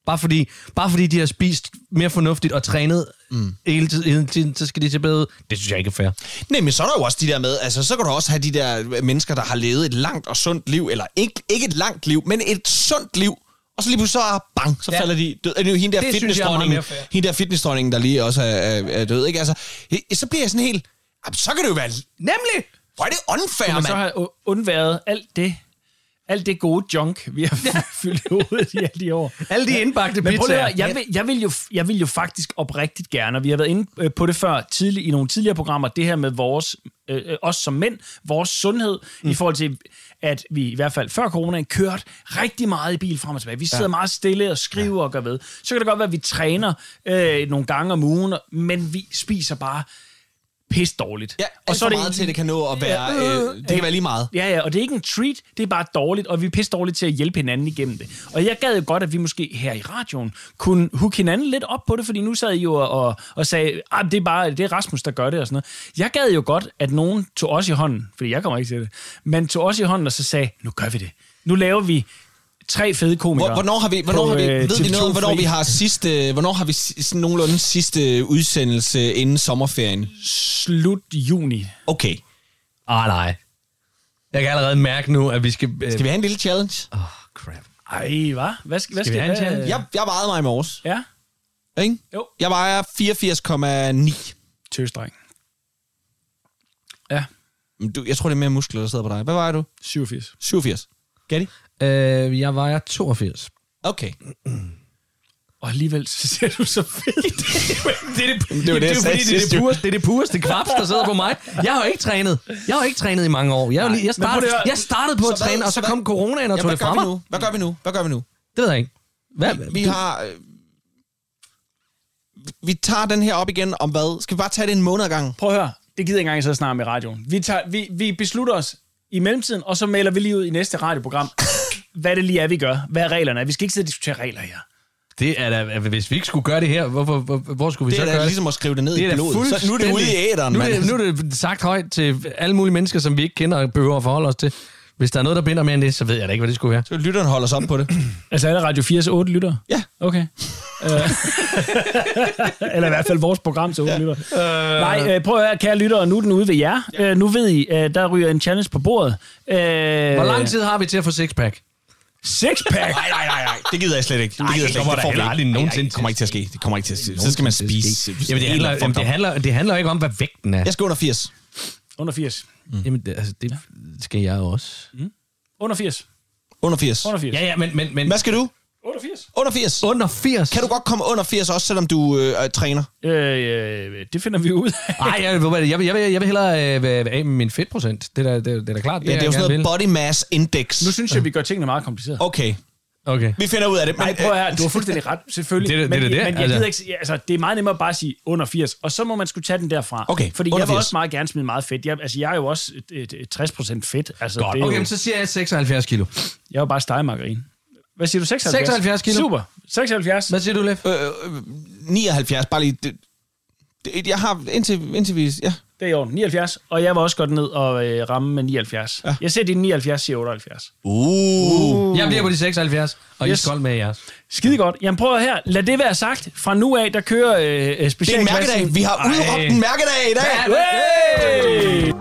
Speaker 3: Bare fordi, bare fordi de har spist mere fornuftigt og trænet mm. hele, tiden, hele tiden, så skal de til bedre. Det synes jeg ikke er fair.
Speaker 4: Nej, men så er der jo også de der med, altså så kan du også have de der mennesker, der har levet et langt og sundt liv, eller ikke, ikke et langt liv, men et sundt liv, og så lige pludselig så er bang, så
Speaker 3: Ja.
Speaker 4: ja. falder de død. Er Det er jo hende der
Speaker 3: Det synes jeg er meget
Speaker 4: fitnessdronningen,
Speaker 3: mere fair.
Speaker 4: hende der fitnessdronningen, der lige også er, er, er død, ikke? Altså, he- så bliver jeg sådan helt, jamen, så kan det jo være,
Speaker 3: Nemlig!
Speaker 4: hvor er det unfair,
Speaker 2: Og så
Speaker 4: mand.
Speaker 2: har jeg undværet alt det, alt det gode junk, vi har fyldt hovedet i alle de år.
Speaker 3: Alle de indbagte
Speaker 2: Men prøv lige at
Speaker 3: pizzaer.
Speaker 2: høre, jeg, vil, jeg, vil jo, jeg vil jo faktisk oprigtigt gerne, og vi har været inde øh, på det før tidlig, i nogle tidligere programmer, det her med vores, øh, øh, os som mænd, vores sundhed, mm. i forhold til, at vi i hvert fald før coronaen kørte rigtig meget i bil frem og tilbage. Vi sidder ja. meget stille og skriver ja. og gør ved. Så kan det godt være, at vi træner øh, nogle gange om ugen, men vi spiser bare pis dårligt.
Speaker 4: Ja, og så er det meget til, at det kan nå at være,
Speaker 2: Ja.
Speaker 4: øh, det kan være lige meget.
Speaker 2: Ja, ja, og det er ikke en treat, det er bare dårligt, og vi er pisse dårlige til at hjælpe hinanden igennem det. Og jeg gad jo godt, at vi måske her i radioen kunne hook hinanden lidt op på det, fordi nu sad I jo og, og, og sagde, at det er bare det er Rasmus, der gør det og sådan noget. Jeg gad jo godt, at nogen tog os i hånden, fordi jeg kommer ikke til det, men tog os i hånden og så sagde, nu gør vi det. Nu laver vi tre fede komikere.
Speaker 4: Hvor, hvornår har vi, hvornår
Speaker 2: på,
Speaker 4: har vi,
Speaker 2: øh,
Speaker 4: ved vi
Speaker 2: TV2
Speaker 4: noget om, hvornår
Speaker 2: Free.
Speaker 4: vi har sidste, hvornår har vi si- sådan nogenlunde sidste udsendelse inden sommerferien?
Speaker 2: Slut juni.
Speaker 4: Okay.
Speaker 3: Ah, nej. Jeg kan allerede mærke nu, at vi skal... Øh,
Speaker 4: Skal vi have en lille challenge?
Speaker 3: Oh, crap.
Speaker 2: Ej, hvad? Hvad skal, hvad
Speaker 3: Skal vi
Speaker 2: skal,
Speaker 3: have en
Speaker 2: hvad-
Speaker 3: challenge?
Speaker 4: Jeg, jeg vejede mig i morges.
Speaker 2: Ja,
Speaker 4: Ikke?
Speaker 2: Jo.
Speaker 4: Jeg vejer 84,9.
Speaker 2: tøsdreng. Ja,
Speaker 4: Men Du, jeg tror, det er mere muskler, der sidder på dig. Hvad vejer du?
Speaker 2: 87.
Speaker 4: 87. Gatti?
Speaker 3: Øh, jeg vejer 82.
Speaker 4: Okay.
Speaker 2: Og alligevel så ser du så fedt.
Speaker 3: Det er det, det,
Speaker 4: det var det, jeg
Speaker 3: er jo
Speaker 4: sagde
Speaker 3: fordi, det, er
Speaker 4: sidst,
Speaker 3: det,
Speaker 4: jo.
Speaker 3: pureste, det er det pureste kvaps, der sidder på mig. Jeg har jo ikke trænet. Jeg har jo ikke trænet i mange år. Jeg, er jo lige, jeg,
Speaker 2: men prøv
Speaker 3: startede,
Speaker 2: lige at-
Speaker 3: jeg startede på at
Speaker 4: Så hvad-
Speaker 3: træne, og så
Speaker 4: så hvad-
Speaker 3: kom coronaen og
Speaker 4: Ja,
Speaker 3: tog
Speaker 4: hvad
Speaker 3: det
Speaker 4: gør
Speaker 3: fra
Speaker 4: vi
Speaker 3: mig.
Speaker 4: nu? Hvad gør vi nu? Hvad gør vi nu?
Speaker 3: Det ved jeg ikke. Hvad,
Speaker 4: Vi har... øh, vi- Vi tager den her op igen om hvad? Skal vi bare tage det en måned ad gangen?
Speaker 2: Prøv at høre, det gider ikke engang så snart med radioen. Vi, tager, vi, vi beslutter os i mellemtiden, og så melder vi lige ud i næste radioprogram, hvad det lige er, vi gør. Hvad er reglerne er. Vi skal ikke sidde og diskutere regler her.
Speaker 3: Det er da, altså, hvis vi ikke skulle gøre det her, hvorfor, hvor, hvor skulle vi
Speaker 4: Det
Speaker 3: så
Speaker 4: er
Speaker 3: gøre
Speaker 4: da ligesom at skrive det ned
Speaker 3: det er
Speaker 4: i
Speaker 3: da
Speaker 4: blodet. Så nu er det ude i
Speaker 3: fuldstændig-
Speaker 4: æderen,
Speaker 3: nu, er
Speaker 4: mand.
Speaker 3: det, nu er det sagt højt til alle mulige mennesker, som vi ikke kender og behøver at forholde os til. Hvis der er noget, der binder mere end det, så ved jeg da ikke, hvad det skulle være.
Speaker 4: Så lytteren holder sig op på det.
Speaker 2: Altså er der Radio 4's 8 lyttere?
Speaker 4: Ja.
Speaker 2: Okay. Øh, Eller i hvert fald vores program til 8 ja. lyttere. Øh. Nej, øh, prøv at høre, kære lyttere, nu er den ude ved jer. Ja. Øh, nu ved I, øh, der ryger en challenge på bordet. Øh, Hvor
Speaker 3: Hvor lang tid har vi til at få sixpack?
Speaker 2: Sixpack!
Speaker 4: Nej, nej, nej, nej. Det gider jeg slet ikke. Det, gider jeg
Speaker 3: det
Speaker 4: slet
Speaker 3: kommer
Speaker 4: ikke.
Speaker 3: der
Speaker 4: får vi
Speaker 3: heller
Speaker 4: ikke.
Speaker 3: aldrig
Speaker 4: Nej, nej,
Speaker 3: nogensinde
Speaker 4: Det kommer ikke til at ske. Det kommer ikke til at ske. Så skal man spise.
Speaker 3: Jamen, det handler, jamen, det handler, det handler ikke om, hvad vægten er.
Speaker 4: Jeg skal under 80.
Speaker 2: Under 80.
Speaker 3: Jamen, det, altså, det skal jeg også.
Speaker 2: Under 80.
Speaker 4: Under 80.
Speaker 2: Under 80.
Speaker 3: Ja, ja, men... men, men
Speaker 4: Hvad skal du?
Speaker 2: Under 80.
Speaker 4: Under 80.
Speaker 3: under 80?
Speaker 4: Kan du godt komme under 80 også, selvom du øh, er træner?
Speaker 2: Øh, øh, det finder vi ud af.
Speaker 3: Nej, jeg, ved du hvad, jeg, vil- jeg, vil, jeg vil hellere øh, være være af med min fedtprocent. Det er da, det, er- det er da klart.
Speaker 4: Ja, det er jo
Speaker 3: jeg
Speaker 4: sådan noget
Speaker 3: gerne
Speaker 4: body mass index.
Speaker 2: Nu synes jeg, vi gør tingene meget komplicerede.
Speaker 4: Okay,
Speaker 3: vil. Okay.
Speaker 4: vi finder ud af det. Men,
Speaker 2: Nej, prøv at høre, du har fuldstændig ret, selvfølgelig.
Speaker 3: Det er det-
Speaker 2: men,
Speaker 3: det er det,
Speaker 2: men jeg
Speaker 3: altså.
Speaker 2: gider ikke, sige- altså, det er meget nemmere bare at sige under 80, og så må man skulle tage den derfra.
Speaker 4: Okay,
Speaker 2: Fordi
Speaker 4: under
Speaker 2: jeg vil
Speaker 4: 80.
Speaker 2: også meget gerne smide meget fedt. Jeg, altså, jeg er jo også et, et, et 60% fedt. Altså,
Speaker 3: Godt.
Speaker 2: Det er
Speaker 3: Okay,
Speaker 2: jo,
Speaker 3: men så siger jeg 76 kilo.
Speaker 2: Jeg er jo bare stegemargarine. Hvad siger du? 76?
Speaker 3: 76 kilo.
Speaker 2: Super. 76.
Speaker 3: Hvad siger du, Leff?
Speaker 4: øh, øh, 79, bare lige... Det, det, jeg har indtil, indtil vi... Ja,
Speaker 2: det er i orden. 79. Og jeg var også godt ned og øh, ramme med 79. Ja. Jeg ser din 79, siger 78.
Speaker 4: Uh.
Speaker 3: Jeg bliver på de 76, og yes. I
Speaker 2: Yes.
Speaker 3: skal holde med jeres.
Speaker 2: Skide godt. Jamen prøv at her. Lad det være sagt. Fra nu af, der kører øh, øh,
Speaker 4: Det er en
Speaker 2: specialklassen.
Speaker 4: mærkedag. Vi har udråbt en mærkedag i dag.
Speaker 9: Altså,
Speaker 2: Hey!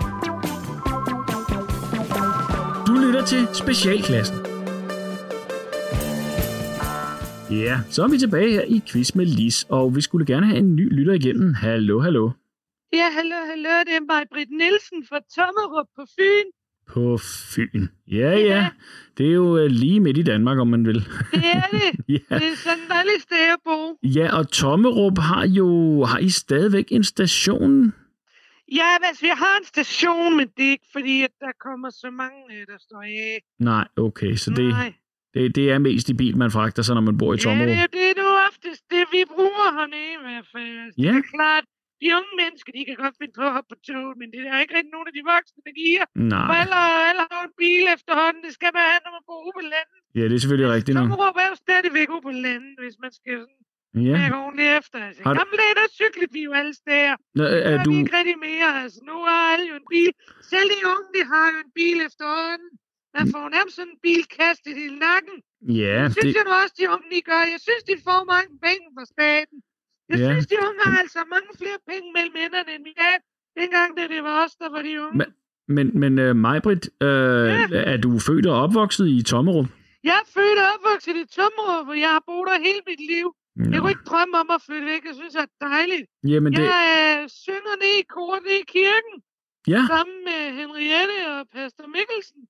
Speaker 5: Du lytter til Specialklassen. Ja, så er vi tilbage her i Quiz med Lis, og vi skulle gerne have en ny lytter igennem. Hallo, hallo.
Speaker 9: Ja, hallo, hallo, det er mig, Britt Nielsen fra Tommerup på Fyn.
Speaker 5: På Fyn. Ja, ja. Det er jo øh, lige midt i Danmark, om man vil.
Speaker 9: Det er det.
Speaker 5: Ja.
Speaker 9: Det er sådan et dejligt sted at bo.
Speaker 5: Ja, og Tommerup har jo... Har I stadigvæk en station?
Speaker 9: Ja, men altså, vi har en station, men det er ikke fordi, at der kommer så mange, øh, der står af.
Speaker 5: Nej, okay. Så det,
Speaker 9: Nej.
Speaker 5: det, det er mest i bil, man fragter sig, når man bor i
Speaker 9: Ja, det
Speaker 5: Tommerup.
Speaker 9: er jo det, du oftest det, vi bruger hernede i hvert fald. Altså, Det
Speaker 5: Ja,
Speaker 9: er klart, de unge mennesker, de kan godt finde på at hoppe på toget, men det er der ikke rigtig nogen af de voksne, der giver. For
Speaker 5: nej.
Speaker 9: alle, alle har en bil efterhånden. Det skal man have, når man bor ude på landet.
Speaker 5: Ja, det er selvfølgelig rigtigt nok.
Speaker 9: Tommerup er jo stadigvæk ude på landet, hvis man skal sådan
Speaker 5: Ja.
Speaker 9: mærke ordentligt efter. Altså,
Speaker 5: Mm. Har du-
Speaker 9: gamle dage, der cyklede vi jo alle steder.
Speaker 5: Nå, øh,
Speaker 9: Det
Speaker 5: er
Speaker 9: gør
Speaker 5: du...
Speaker 9: de ikke rigtig mere. Altså, nu har alle jo en bil. Selv de unge, de har jo en bil efterhånden. Man får nærmest sådan en bil kastet i nakken.
Speaker 5: Ja,
Speaker 9: Det synes
Speaker 5: Altså, det,
Speaker 9: jeg nu også, de unge de gør. Jeg synes, de får mange penge fra staten. Jeg
Speaker 5: Ja.
Speaker 9: synes, de unge har altså mange flere penge mellem hænderne end vi havde. Dengang, da det var os, der var de unge.
Speaker 5: Men- men, men uh, Majbrit, uh,
Speaker 9: Ja.
Speaker 5: er du født og opvokset i Tommerup?
Speaker 9: Jeg er født og opvokset i Tommerup, hvor jeg har boet der hele mit liv. Jeg kunne ikke drømme om at flytte væk. Jeg synes, det er dejligt.
Speaker 5: Jamen det...
Speaker 9: Jeg øh, synger ned i koret ned i kirken.
Speaker 5: Ja.
Speaker 9: Sammen med Henriette og Pastor Mikkelsen.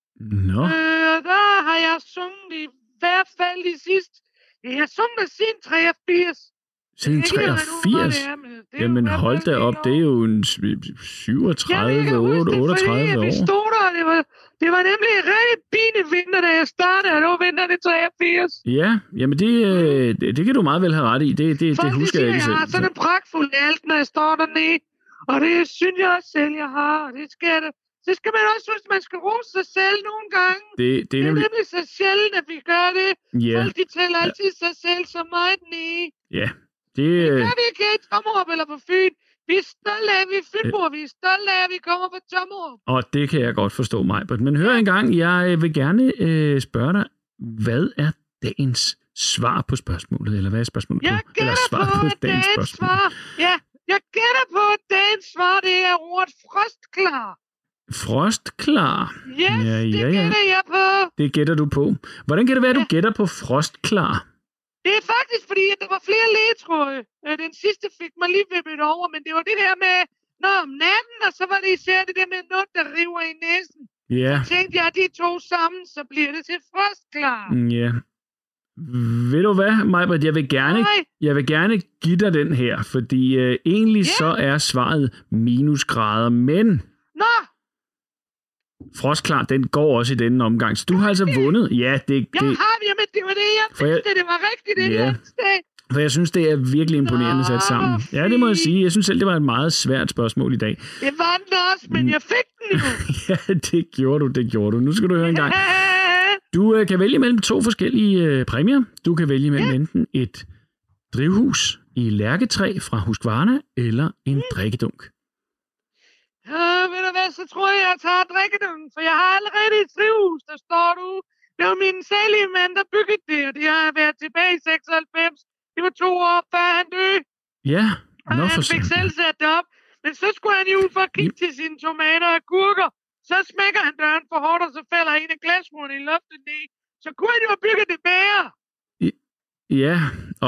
Speaker 5: Nå,
Speaker 9: Øh, og der har jeg sunget i hvert fald de sidste... Ja, jeg har sunget siden 83.
Speaker 5: siden
Speaker 9: Jeg kan ikke regne ud, hvor
Speaker 5: 83.
Speaker 9: det er, men det er jo i
Speaker 5: Jamen
Speaker 9: hvert fald
Speaker 5: hold da
Speaker 9: en del
Speaker 5: op,
Speaker 9: år.
Speaker 5: det er jo en s-
Speaker 9: Jamen, jeg
Speaker 5: 37,
Speaker 9: kan huske det,
Speaker 5: 8,
Speaker 9: fordi, at
Speaker 5: 38
Speaker 9: Vi
Speaker 5: år.
Speaker 9: stod der, og det var, det var nemlig en rigtig pine vinter, da jeg startede, og det var vinteren i 83.
Speaker 5: Ja, jamen det, øh, det, det kan du meget vel have ret i. Det, det,
Speaker 9: Mm. Folk
Speaker 5: det
Speaker 9: de
Speaker 5: husker
Speaker 9: siger,
Speaker 5: jeg ikke
Speaker 9: jeg har
Speaker 5: selv.
Speaker 9: sådan en pragtfuld alt, når jeg står dernede. Og det synes jeg også selv, jeg har. Og det skal jeg da. Så skal man også huske, at man skal rose sig selv nogle gange.
Speaker 5: Det, det
Speaker 9: Det
Speaker 5: er
Speaker 9: er
Speaker 5: nemlig...
Speaker 9: nemlig så sjældent, at vi gør det.
Speaker 5: Ja,
Speaker 9: Folk de tæller altid sig selv så meget ned.
Speaker 5: ja. Det,
Speaker 9: Det
Speaker 5: øh,
Speaker 9: gør vi ikke her i Tommerup eller på Fyn. Vi er stolte af, at vi er Fynboer. Vi er stolte af, at vi kommer fra Tommerup.
Speaker 5: og det kan jeg godt forstå, Majbrit. Men hør engang, jeg øh, vil gerne øh, spørge dig, hvad er dagens svar på spørgsmålet? Eller hvad er spørgsmålet
Speaker 9: Jeg
Speaker 5: på? Eller
Speaker 9: gætter på, at dagens svar... Ja, jeg gætter på, at dagens svar, det er ordet frostklar.
Speaker 5: Frostklar.
Speaker 9: Yes,
Speaker 5: Ja,
Speaker 9: ja, ja,
Speaker 5: ja,
Speaker 9: det
Speaker 5: ja.
Speaker 9: gætter jeg på.
Speaker 5: Det gætter du på. Hvordan kan det være, at du
Speaker 9: Ja.
Speaker 5: gætter på frostklar?
Speaker 9: Det er faktisk fordi, at der var flere ledtråde. Øh, Den sidste fik mig lige vippet over, men det var det der med... Nå, om natten, og så var det især det der med noget, der river i næsen.
Speaker 5: Ja,
Speaker 9: Tænkte jeg, de to sammen, så bliver det til frostklar.
Speaker 5: ja. Ved du hvad, Majbert, jeg vil gerne,
Speaker 9: Nej,
Speaker 5: jeg vil gerne give dig den her, fordi øh, egentlig
Speaker 9: Ja.
Speaker 5: så er svaret minusgrader, men
Speaker 9: nå,
Speaker 5: frostklar, den går også i denne omgang, så du har altså vundet. Ja, det,
Speaker 9: jeg
Speaker 5: det,
Speaker 9: har jamen, det var det, jeg
Speaker 5: For jeg-
Speaker 9: vidste, det var rigtigt, det
Speaker 5: Ja.
Speaker 9: yeah. jeg
Speaker 5: for jeg synes, det er virkelig imponerende sat sammen.
Speaker 9: Nå,
Speaker 5: Ja, det må jeg
Speaker 9: fint.
Speaker 5: sige. Jeg synes selv, det var et meget svært spørgsmål i dag.
Speaker 9: Det var den også, men
Speaker 5: Mm.
Speaker 9: jeg fik den jo.
Speaker 5: Ja, det gjorde du, det gjorde du. Nu skal du høre en gang. Du øh, kan vælge mellem to forskellige øh, præmier. Du kan vælge mellem ja. enten et drivhus i lærketræ fra Husqvarna, eller en mm. drikkedunk.
Speaker 9: Øh, ved du hvad, så tror jeg, jeg tager drikkedunken, for jeg har allerede et drivhus, der står du. Det var min særlige mand, der byggede det, og det har været tilbage i 96. Det var to år før han døde,
Speaker 5: Ja,
Speaker 9: og
Speaker 5: nå for
Speaker 9: Ah, han fik
Speaker 5: satan.
Speaker 9: selv sat det op. Men så skulle han jo ud for at kigge til sine tomater og gurker. Så smækker han døren for hårdt, og så falder en af glasruden i loftet ned. Så kunne han jo have bygget det bedre.
Speaker 5: Ja,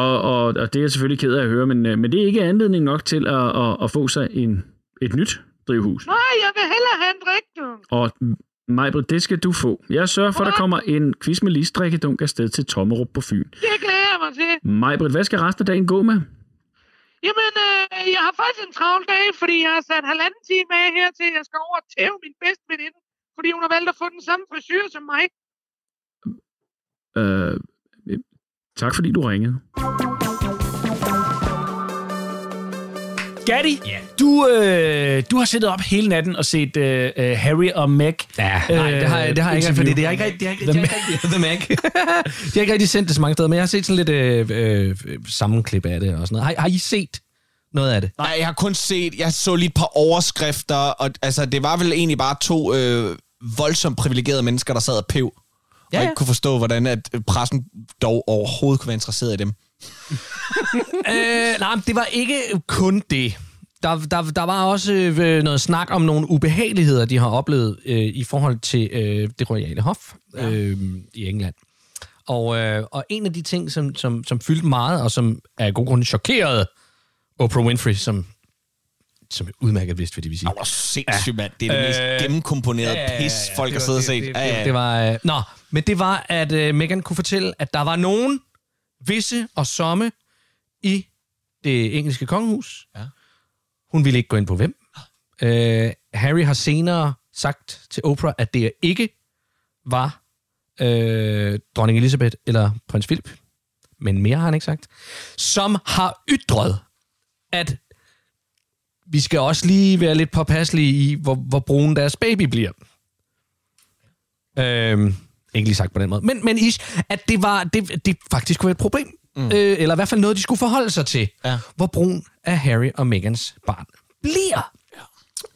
Speaker 5: og, og, og det er jeg selvfølgelig ked af at høre, men, øh, men det er ikke anledning nok til at, at, at få sig en, et nyt drivhus.
Speaker 9: Nej, jeg vil hellere have en drikkedunk.
Speaker 5: Og Majbrit, det skal du få. Jeg sørger for, at der kommer en quiz med listdrikkedunk afsted til Tommerup på Fyn.
Speaker 9: Det glæder jeg mig til.
Speaker 5: Majbrit, hvad skal resten af dagen gå med?
Speaker 9: Jamen, øh, jeg har faktisk en travl dag, fordi jeg har sat halvanden time af her til, at jeg skal over og tæve min bedste veninde, fordi hun har valgt at få den samme frisyr som mig.
Speaker 5: Øh, øh, tak fordi du ringede.
Speaker 2: Gatti, du, øh, du har siddet op hele natten og set øh, øh, Harry og Meg.
Speaker 3: Ja, nej, det har, jeg- det har jeg ikke,
Speaker 2: interview.
Speaker 3: fordi det har ikke rigtig, det har ikke, det har ikke, rigtig- The Mac. de har ikke rigtig sendt det så mange steder, men jeg har set sådan lidt øh, øh, sammenklip af det og sådan noget. Har, har I set noget af det.
Speaker 4: Nej, jeg har kun set, jeg så lige et par overskrifter, og altså, det var vel egentlig bare to øh, voldsomt privilegerede mennesker, der sad og pev. Ja,
Speaker 3: Ja,
Speaker 4: ja. Og
Speaker 3: ja.
Speaker 4: ikke kunne forstå, hvordan at øh, pressen dog overhovedet kunne være interesseret i dem.
Speaker 3: Øh, nej, men det var ikke kun det. Der, der, der var også øh, noget snak om nogle ubehageligheder, de har oplevet øh, i forhold til øh, det royale hof øh, i England. Og, øh, og en af de ting, som, som, som fyldte meget, og som af god grund chokerede Oprah Winfrey, som, som udmærket vidste, hvad det vil sige.
Speaker 4: Det var sindssygt, mand. Det er det øh, mest gennemkomponerede ja, pis, folk har
Speaker 3: Det
Speaker 4: siddet
Speaker 3: var-
Speaker 4: og set.
Speaker 3: Det,
Speaker 4: Ja,
Speaker 3: det,
Speaker 4: ja.
Speaker 3: det, det var... Øh, nå, men det var, at øh, Megan kunne fortælle, at der var nogen visse og somme i det engelske kongehus. Ja. Hun ville ikke gå ind på hvem. Øh, Harry har senere sagt til Oprah, at det ikke var øh, dronning Elizabeth eller prins Philip, men mere har han ikke sagt, som har ytret, at vi skal også lige være lidt påpasselige i, hvor, hvor brun deres baby bliver. Øhm, ikke lige sagt på den måde. Men, men ish, at det, var, det, det faktisk kunne være et problem. Mm. Øh, eller i hvert fald noget, de skulle forholde sig til. Ja. Hvor brun af Harry og Megans barn bliver.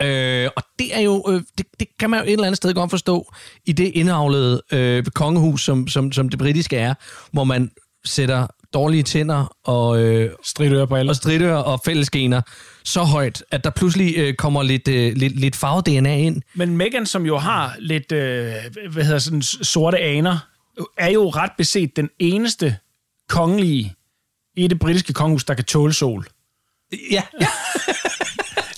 Speaker 3: Øh, og det er jo, øh, det, det kan man jo et eller andet sted godt forstå, i det indavlede øh, kongehus, som, som, som det britiske er, hvor man sætter dårlige tænder og, øh,
Speaker 2: Stridører på alle.
Speaker 3: og stridører og fællesgener så højt, at der pludselig øh, kommer lidt, øh, lidt, lidt farve-DNA ind.
Speaker 2: Men Megan, som jo har lidt øh, hvad hedder sådan, sorte aner, er jo ret beset den eneste kongelige i det britiske kongehus, der kan tåle sol.
Speaker 3: Ja,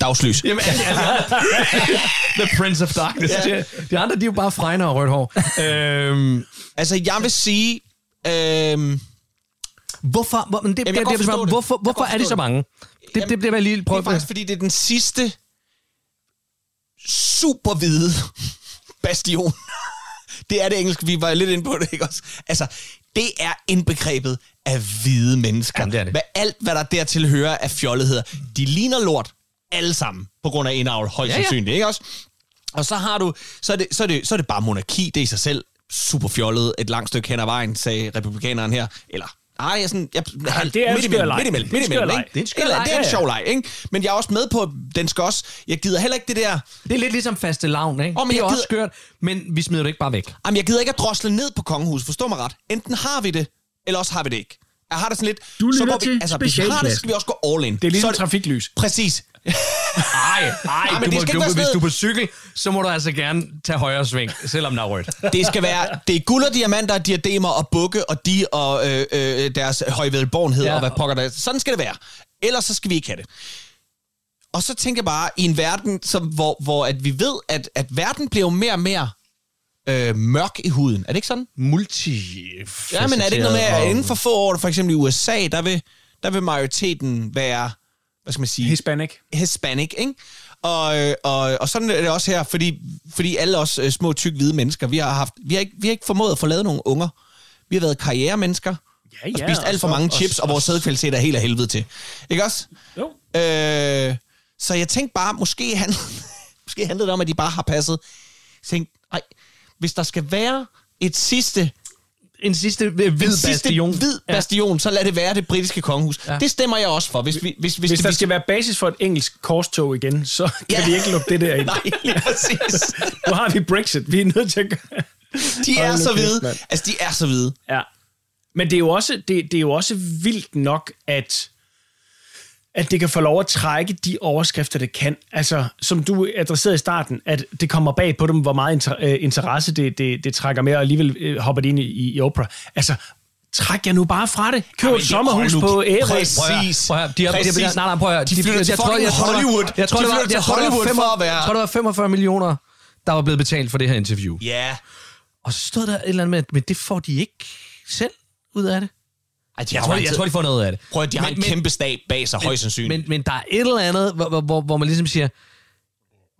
Speaker 4: Dagslys.
Speaker 3: Jamen, altså, altså, The Prince of Darkness. Ja. De, de andre, de er jo bare fregner og rødt hår. øhm,
Speaker 4: Altså, jeg vil sige... Øh,
Speaker 3: hvorfor, hvor, men det,
Speaker 4: jeg
Speaker 3: det,
Speaker 4: kan
Speaker 3: det,
Speaker 4: godt
Speaker 3: det, hvorfor,
Speaker 4: forstå det.
Speaker 3: hvorfor,
Speaker 4: Jeg kan
Speaker 3: hvorfor
Speaker 4: godt
Speaker 3: er de
Speaker 4: forstå
Speaker 3: så mange? Det, det, det bliver jeg lige
Speaker 4: Det
Speaker 3: prøve.
Speaker 4: er faktisk, fordi det er den sidste superhvide bastion. Det er det engelske, vi var lidt inde på det, ikke også? Altså, det er indbegrebet af hvide mennesker.
Speaker 3: Jamen, det er det.
Speaker 4: Hvad alt, hvad der dertil hører af fjolletheder. De ligner lort alle sammen, på grund af indavl, højst ja,
Speaker 3: Ja,
Speaker 4: ja.
Speaker 3: ja.
Speaker 4: sandsynligt, ikke også? Og så har du, så er, det, så, er det, så er det bare monarki, det er i sig selv super fjollet et langt stykke hen ad vejen, sagde republikaneren her. Eller, nej, jeg er sådan, jeg,
Speaker 2: det er en
Speaker 4: midt imellem,
Speaker 2: skør leg.
Speaker 4: midt imellem,
Speaker 2: Det er en
Speaker 4: midt imellem,
Speaker 2: skør
Speaker 4: ikke?
Speaker 2: leg. Det er en skør
Speaker 4: Eller,
Speaker 2: leg,
Speaker 4: Det er en
Speaker 2: ja, ja.
Speaker 4: sjov leg, ikke? Men jeg er også med på, at den skal også... Jeg gider heller ikke det der...
Speaker 3: Det er lidt ligesom faste lavn, ikke? Oh,
Speaker 4: Åh,
Speaker 3: men det
Speaker 4: men
Speaker 3: er
Speaker 4: jeg
Speaker 3: også
Speaker 4: gider-
Speaker 3: skørt, men vi smider det ikke bare væk.
Speaker 4: Jamen, jeg gider ikke at drosle ned på kongehuset, forstå mig ret. Enten har vi det, eller også har vi det ikke. Jeg har det sådan lidt...
Speaker 5: Du lytter
Speaker 4: går vi,
Speaker 5: til
Speaker 4: altså, hvis vi har det, så
Speaker 5: specialklassen.
Speaker 4: skal vi også gå all in.
Speaker 2: Det er
Speaker 4: så
Speaker 2: ligesom trafiklys.
Speaker 4: Præcis.
Speaker 3: Nej,
Speaker 4: Ej,
Speaker 3: nej,
Speaker 4: men
Speaker 3: du
Speaker 4: det
Speaker 3: må,
Speaker 4: skal
Speaker 3: du,
Speaker 4: ikke være sådan
Speaker 3: hvis
Speaker 4: noget-
Speaker 3: du er på cykel, så må du altså gerne tage højre sving, selvom der er rødt.
Speaker 4: Det skal være, det er guld og diamanter, og diademer og bukke, og de og øh, øh, deres højvedborgenhed, ja.
Speaker 3: Ja.
Speaker 4: og hvad pokker der er. Sådan skal det være. Ellers så skal vi ikke have det. Og så tænker jeg bare, i en verden, som, hvor, hvor at vi ved, at, at verden bliver jo mere og mere øh, mørk i huden. Er det ikke sådan?
Speaker 3: Multi...
Speaker 4: Ja, men er det ikke noget med, at inden for få år, for eksempel i USA, der vil, der vil majoriteten være, hvad skal man sige,
Speaker 2: Hispanic.
Speaker 4: hispanic, ikke? Og, øh, og, og sådan er det også her, fordi, fordi alle os øh, små, tyk, hvide mennesker, vi har, haft, vi, har ikke, vi har ikke formået at få lavet nogle unger. Vi har været karrieremennesker,
Speaker 2: Ja,
Speaker 4: og
Speaker 2: ja,
Speaker 4: spist
Speaker 2: og
Speaker 4: alt for
Speaker 2: så-
Speaker 4: mange
Speaker 2: og-
Speaker 4: chips, og,
Speaker 2: og-
Speaker 4: vores sædkvalitet er helt af helvede til. Ikke også?
Speaker 2: Jo.
Speaker 4: Øh, så jeg tænkte bare, måske, han, måske handlede det om, at de bare har passet. Jeg tænkte, nej, hvis der skal være et sidste
Speaker 3: En sidste øh, hvid
Speaker 4: den sidste
Speaker 3: bastion.
Speaker 4: hvid bastion, så lad det være det britiske kongehus. Ja.
Speaker 3: Ja.
Speaker 4: Det stemmer jeg også for. Hvis, vi, hvis, hvis,
Speaker 2: Hvis
Speaker 4: det,
Speaker 2: der skal være basis for et engelsk korstog igen, så kan
Speaker 4: Ja.
Speaker 2: vi ikke lukke det der ind.
Speaker 4: Nej, lige præcis.
Speaker 2: Nu har vi Brexit. Vi er nødt til at gøre...
Speaker 4: De er
Speaker 2: Hold nu
Speaker 4: så
Speaker 2: kæft,
Speaker 4: hvide.
Speaker 2: mand.
Speaker 4: Altså, de er så hvide.
Speaker 2: Ja. Men det er jo også, det, det er jo også vildt nok, at, at det kan få lov at trække de overskrifter, det kan. Altså, som du adresserede i starten, at det kommer bag på dem, hvor meget inter, øh, interesse det, det, det trækker med, og alligevel øh, hopper det ind i, i Oprah. Altså, træk jer nu bare fra det. Køb et sommerhus på Ærø.
Speaker 4: Præcis.
Speaker 3: Prøv at høre, de har,
Speaker 4: Præcis.
Speaker 3: de har, nej, nej, prøv at høre.
Speaker 4: De flytter til
Speaker 3: jeg tror- jeg
Speaker 4: fucking
Speaker 3: tror, det var-
Speaker 4: Hollywood.
Speaker 3: Jeg tror,
Speaker 4: De
Speaker 3: det var,
Speaker 4: flytter til
Speaker 3: jeg tror, det var
Speaker 4: Hollywood
Speaker 3: fem-
Speaker 4: for at være-
Speaker 3: Jeg tror, det var 45 millioner, der var blevet betalt for det her interview.
Speaker 4: Ja.
Speaker 3: Og så stod der et eller andet med, at men det får de ikke selv ud af det.
Speaker 4: Ej, de
Speaker 3: Jeg tror, jeg tror de får noget ud af det.
Speaker 4: Prøv at de har
Speaker 3: Men-
Speaker 4: en
Speaker 3: men-
Speaker 4: kæmpe stab bag sig, højst sandsynligt.
Speaker 3: Men, men der er et eller andet, hvor, hvor, hvor, hvor man ligesom siger,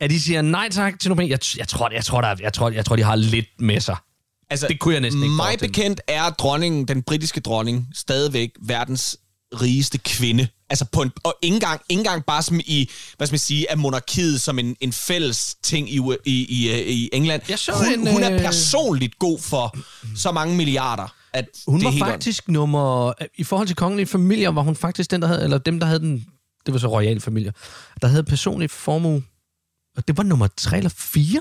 Speaker 3: at de siger nej tak til nogle penge. Jeg, jeg, tror, jeg, tror, der, er- jeg, tror, jeg tror, de har lidt med sig.
Speaker 4: Altså,
Speaker 3: Det kunne jeg næsten ikke
Speaker 4: Mig
Speaker 3: forestille mig.
Speaker 4: bekendt er dronningen, den britiske dronning, stadigvæk verdens rigeste kvinde. Altså på en, og ikke engang, ikke engang bare som i, hvad skal man sige, af monarkiet som en, en fælles ting i, U- i, i, øh, i England.
Speaker 3: Jeg så
Speaker 4: hun,
Speaker 3: en,
Speaker 4: hun er
Speaker 3: øh,
Speaker 4: personligt god for så mange milliarder, at
Speaker 3: Hun
Speaker 4: det er
Speaker 3: var
Speaker 4: helt
Speaker 3: faktisk nummer... I forhold til kongelige familier, var hun faktisk den, der havde... Eller dem, der havde den det var så royale familier, der havde personlig formue, og det var nummer 3 eller 4.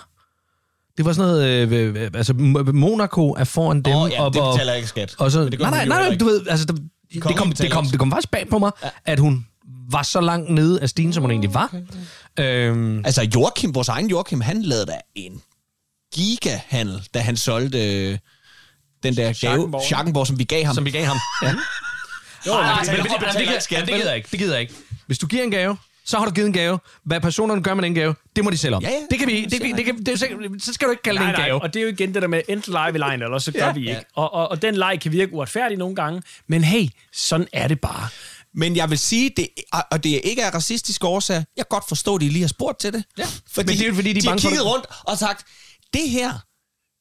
Speaker 3: Det var sådan noget, øh, øh, øh, altså Mo- Monaco er foran dem.
Speaker 4: Åh, ja,
Speaker 3: op
Speaker 4: det
Speaker 3: og-
Speaker 4: betaler ikke skat.
Speaker 3: Og så,
Speaker 4: Men det gør
Speaker 3: nej, nej,
Speaker 4: hun jo
Speaker 3: nej,
Speaker 4: heller
Speaker 3: nej,
Speaker 4: ikke.
Speaker 3: du ved, altså, det, det,
Speaker 4: Kongen
Speaker 3: kom, det,
Speaker 4: betaler
Speaker 3: kom,
Speaker 4: også.
Speaker 3: det kom faktisk bag på mig, ja. at hun var så langt nede af stigen, som hun egentlig var. Øhm,
Speaker 4: Altså Joachim, vores egen Joachim, han lavede da en gigahandel, da han solgte øh, den der gave,
Speaker 2: Schackenborg.
Speaker 4: Schackenborg, som vi gav ham.
Speaker 3: som vi gav ham. Ja.
Speaker 4: jo, nej,
Speaker 3: Men- men- men- det gider- ja, det gider jeg ikke. Det gider jeg ikke. Hvis du giver en gave, så har du givet en gave. Hvad personerne gør med den gave, det må de selv om.
Speaker 4: Ja, ja.
Speaker 3: Det kan vi, det, det, det, kan, det, så- så skal du ikke kalde det
Speaker 2: Nej,
Speaker 3: en
Speaker 2: nej,
Speaker 3: gave.
Speaker 2: og det er jo igen det der med, enten leger vi lejen, eller så gør ja, vi ikke. Og, og, og den leg kan virke uretfærdig nogle gange, men hey, sådan er det bare.
Speaker 4: Men jeg vil sige, det, og det ikke er racistisk årsag, jeg kan godt forstå, at de lige har spurgt til det. Ja, fordi,
Speaker 3: men det er jo fordi, de er
Speaker 4: har
Speaker 3: bange for
Speaker 4: kigget
Speaker 3: det.
Speaker 4: rundt og sagt, det her,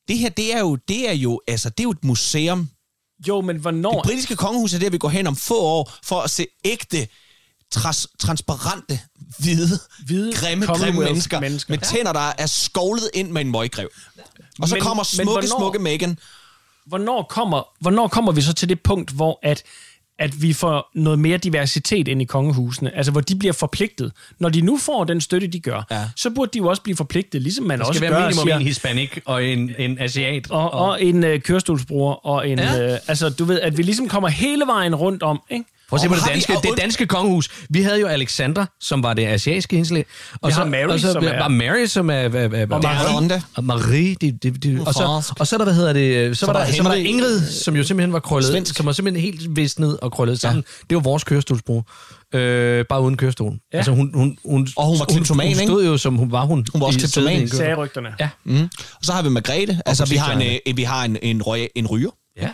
Speaker 4: det her, det er jo, det er jo, altså, det er jo et museum.
Speaker 2: Jo, men hvornår...
Speaker 4: Det britiske kongehus er der, vi går hen om få år for at se ægte, trans- transparente, hvide,
Speaker 2: Hvide
Speaker 4: grimme, grimme
Speaker 2: Commonwealth
Speaker 4: mennesker,
Speaker 2: mennesker.
Speaker 4: med tænder, der er skovlet ind med en møggrev. Og så
Speaker 2: Men-
Speaker 4: men, kommer
Speaker 2: men
Speaker 4: smukke,
Speaker 2: hvornår-
Speaker 4: smukke Megan.
Speaker 2: hvornår kommer, hvornår kommer vi så til det punkt, hvor at, at vi får noget mere diversitet ind i kongehusene? Altså, hvor de bliver forpligtet. Når de nu får den støtte, de gør,
Speaker 4: Ja.
Speaker 2: ja. så burde de jo også blive forpligtet, ligesom man
Speaker 3: Det
Speaker 2: også
Speaker 3: skal
Speaker 2: gør,
Speaker 3: være minimum
Speaker 2: siger-
Speaker 3: en hispanik og en, en asiat.
Speaker 2: og, og en øh, kørestolsbruger, og en...
Speaker 3: Ja.
Speaker 2: Ja. Øh, altså, du ved, at vi ligesom kommer hele vejen rundt om, ikke?
Speaker 3: Prøv at se
Speaker 4: Og
Speaker 3: på det
Speaker 4: har vi-
Speaker 3: danske,
Speaker 4: og
Speaker 3: det
Speaker 4: und-
Speaker 3: danske kongehus. Vi havde jo Alexander, som var det asiatiske henslag. Og
Speaker 2: Vi har Mary,
Speaker 3: og så
Speaker 2: som er-
Speaker 3: var Mary, som er... Hvad, hvad, og
Speaker 4: Marie.
Speaker 3: Og Marie. De, de, de, og, så,
Speaker 4: fransk.
Speaker 3: og så er der, hvad hedder det... øh, Så, var
Speaker 4: var
Speaker 3: der,
Speaker 4: der
Speaker 3: så var der
Speaker 4: Henry.
Speaker 3: Ingrid, som jo simpelthen var krøllet.
Speaker 4: Svensk.
Speaker 3: Som var simpelthen helt visnet og krøllet sammen. Det var vores kørestolsbro. Øh, bare uden kørestolen. Ja. Altså, hun, hun, hun,
Speaker 4: Og hun var kleptoman,
Speaker 3: hun,
Speaker 4: ikke?
Speaker 3: hun stod jo, som hun var hun.
Speaker 4: Hun var også
Speaker 3: i-
Speaker 4: kleptoman.
Speaker 3: siddet i en kørestol.
Speaker 2: Sagde rygterne.
Speaker 3: Ja.
Speaker 4: Og så har vi Margrethe. Altså, vi har, en,
Speaker 3: butiksejerne.
Speaker 4: øh, vi har en, en, røg, en ryger.
Speaker 3: Ja.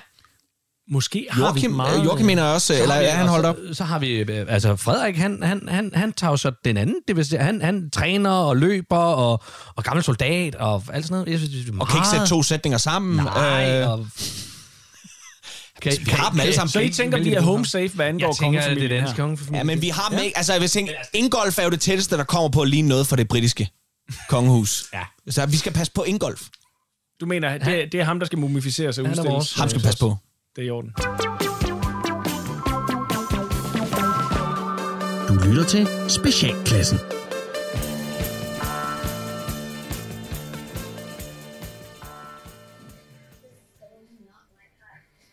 Speaker 2: Måske har
Speaker 4: Joachim,
Speaker 2: vi meget...
Speaker 4: øh, Joachim mener jeg også, eller er han holdt op?
Speaker 3: Så, så har vi, øh, altså Frederik, han, han, han, han tager jo så den anden, det vil sige, han, han træner og løber og, og gammel soldat og alt sådan noget. Jeg synes, det er meget,
Speaker 4: Og kan ikke sætte to sætninger sammen.
Speaker 3: Nej,
Speaker 4: Øh,
Speaker 3: og... Kan,
Speaker 4: vi har dem alle sammen.
Speaker 2: Så I tænker, vi er home safe, hvad angår
Speaker 3: Jeg tænker, at det
Speaker 2: kongefamilien
Speaker 3: er dansk
Speaker 2: her?
Speaker 3: kongefamilie.
Speaker 4: ja, men vi har dem ikke. Altså, jeg vil tænke, Ingolf er jo det tætteste, der kommer på at ligne noget for det britiske kongehus. ja. Så vi skal passe på Ingolf.
Speaker 2: Du mener, det, det er ham, der skal mumificeres og
Speaker 3: Han er vores.
Speaker 2: udstilles?
Speaker 4: Ham skal vi passe på.
Speaker 2: Det er i orden.
Speaker 5: Du lytter til Specialklassen.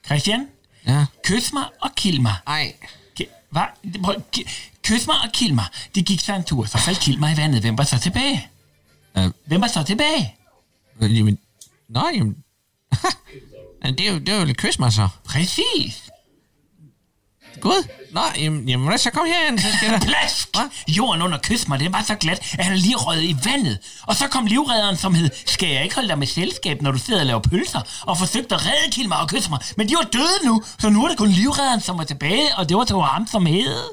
Speaker 8: Christian?
Speaker 3: Ja.
Speaker 8: Kys mig og kill mig.
Speaker 10: Ej.
Speaker 8: Ki- Hvad? Prøv, ki- kys mig og kill mig. De gik så en tur, så faldt kill mig i vandet. Hvem var så tilbage?
Speaker 10: Ja.
Speaker 8: Hvem var så tilbage?
Speaker 10: Øh, Jamen, nå, jamen. Men det er jo, det er jo lidt kys mig så.
Speaker 8: Præcis.
Speaker 10: Gud. Nå, jamen, jamen hvad så kom herhen, så skal der...
Speaker 8: Plask! Jorden under kys mig, det var så glat, at han lige røg i vandet. Og så kom livredderen, som hed, skal jeg ikke holde dig med selskab, når du sidder og laver pølser, og forsøgte at redde kill mig og kysse mig. Men de var døde nu, så nu er det kun livredderen, som var tilbage, og det var så ham, som hed...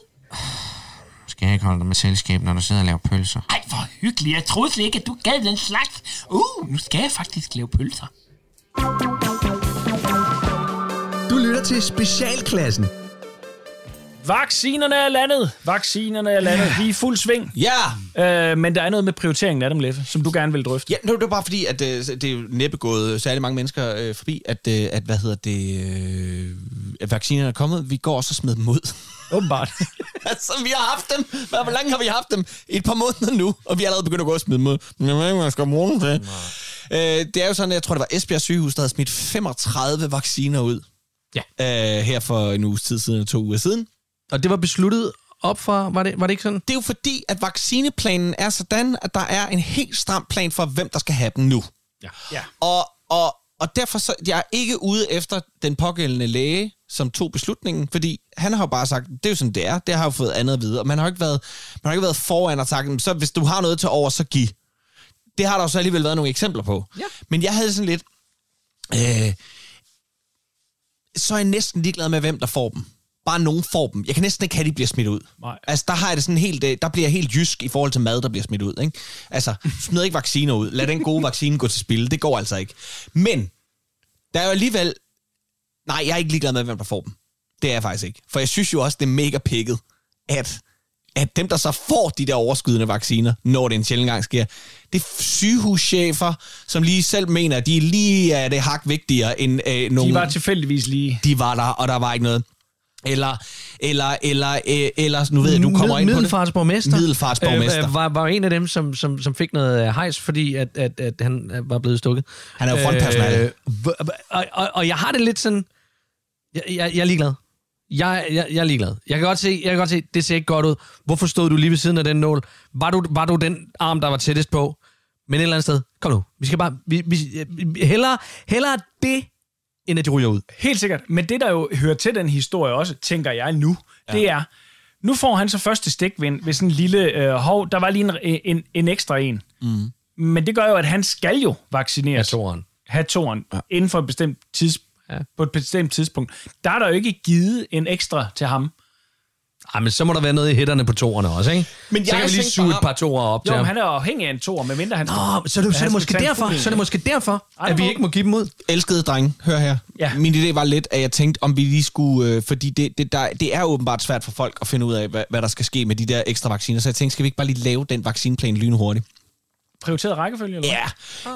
Speaker 10: Skal jeg ikke holde dig med selskab, når du sidder og laver pølser?
Speaker 8: Ej, hvor hyggeligt. Jeg troede slet ikke, at du gad den slags. Uh, nu skal jeg faktisk lave pølser.
Speaker 11: Du lytter til Specialklassen.
Speaker 2: Vaccinerne er landet! Vaccinerne er landet. Vi er i fuld sving.
Speaker 4: Ja!
Speaker 2: Øh, men der er noget med prioriteringen af dem, Leffe, som du gerne vil drøfte.
Speaker 4: Ja, nu er det bare fordi, at øh, det er jo næppe gået særlig mange mennesker øh, forbi, at, øh, at, hvad hedder det, øh, at vaccinerne er kommet. Vi går også og smider dem ud.
Speaker 2: Åbenbart.
Speaker 4: altså, vi har haft dem. Hvor hvor længe har vi haft dem? Et par måneder nu, og vi er allerede begyndt at gå og smide dem ud. Men jeg ved ikke, hvad jeg skal bruge dem til. Øh, det er jo sådan, at jeg tror, det var Esbjerg sygehus, der havde smidt 35 vacciner ud.
Speaker 3: Ja.
Speaker 4: Øh, her for en uges tid siden, to uger siden.
Speaker 3: Og det var besluttet op fra, var det, var det ikke sådan?
Speaker 4: Det er jo fordi, at vaccineplanen er sådan, at der er en helt stram plan for, hvem der skal have den nu.
Speaker 3: Ja.
Speaker 2: Ja.
Speaker 4: Og, og, og derfor så, jeg er ikke ude efter den pågældende læge, som tog beslutningen, fordi han har jo bare sagt, det er jo sådan, det er. Det har jeg jo fået andet at vide. Og man har jo ikke været, man har ikke været foran og sagt, "Men så hvis du har noget til over, så giv. Det har der jo så alligevel været nogle eksempler på. Ja. Men jeg havde sådan lidt, øh, så er jeg næsten ligeglad med, hvem der får dem. Bare nogen får dem. Jeg kan næsten ikke have, at de bliver smidt ud.
Speaker 2: Nej.
Speaker 4: Altså, der har jeg det sådan helt, øh, der bliver jeg helt jysk i forhold til mad, der bliver smidt ud. Ikke? Altså, smid ikke vacciner ud. Lad den gode vaccine gå til spil. Det går altså ikke. Men, der er jo alligevel... Nej, jeg er ikke ligeglad med, hvem der får dem. Det er jeg faktisk ikke. For jeg synes jo også, det er mega pikket, at, at dem, der så får de der overskydende vacciner, når det en sjældent gang sker, det er sygehuschefer, som lige selv mener, at de lige er det hak vigtigere end øh, nogle...
Speaker 2: De var tilfældigvis lige...
Speaker 4: de var der, og der var ikke noget. Eller, eller, eller, øh, eller nu ved jeg, nu kommer jeg ind på det.
Speaker 3: Middelfarts borgmester.
Speaker 4: Middelfarts borgmester.
Speaker 3: Øh, var, var en af dem, som, som, som fik noget øh, hejs, fordi at, at, at han øh, var blevet stukket.
Speaker 4: Han er jo frontpersonale.
Speaker 3: Øh, hv- hv- og, og, og jeg har det lidt sådan... Jeg, jeg, jeg er ligeglad. Jeg, jeg, jeg er ligeglad. Jeg kan, godt se, jeg kan godt se, det ser ikke godt ud. Hvorfor stod du lige ved siden af den nål? Var du, var du den arm, der var tættest på? Men et eller andet sted. Kom nu. Vi skal bare... Vi, vi, vi- hellere, hellere det, end at de ryger ud.
Speaker 2: Helt sikkert. Men det, der jo hører til den historie også, tænker jeg nu, ja. det er, nu får han så første stikvind ved sådan en lille øh, hov. Der var lige en, en, en ekstra en. Mm. Men det gør jo, at han skal jo
Speaker 3: Ja,
Speaker 2: vaccineres.
Speaker 3: toren.
Speaker 2: have toren ja. inden for et bestemt tids, ja. på et bestemt tidspunkt. Der er der jo ikke givet en ekstra til ham.
Speaker 3: Ej, men så må der være noget i hætterne på toerne også, ikke?
Speaker 4: Men
Speaker 3: så
Speaker 4: jeg
Speaker 3: kan vi lige
Speaker 4: tænkte
Speaker 3: suge
Speaker 4: bare-
Speaker 3: et par toer op til
Speaker 2: Jo,
Speaker 3: ham.
Speaker 2: men han er jo afhængig af en tor, medmindre han...
Speaker 3: Nå, så er det, så er
Speaker 2: Han
Speaker 3: det måske
Speaker 2: skal tage en
Speaker 3: derfor,
Speaker 2: fugl.
Speaker 3: så er det måske derfor,
Speaker 2: det
Speaker 3: at vi
Speaker 2: må-
Speaker 3: ikke må give dem ud.
Speaker 4: Elskede drenge, hør her.
Speaker 2: Ja.
Speaker 4: Ja. Min idé var lidt, at jeg tænkte, om vi lige skulle... Øh, fordi det, det, der, det er åbenbart svært for folk at finde ud af, hvad, hvad der skal ske med de der ekstra vacciner. Så jeg tænkte, skal vi ikke bare lige lave den vaccineplan lynhurtigt?
Speaker 2: Prioriteret rækkefølge, eller
Speaker 4: Ja.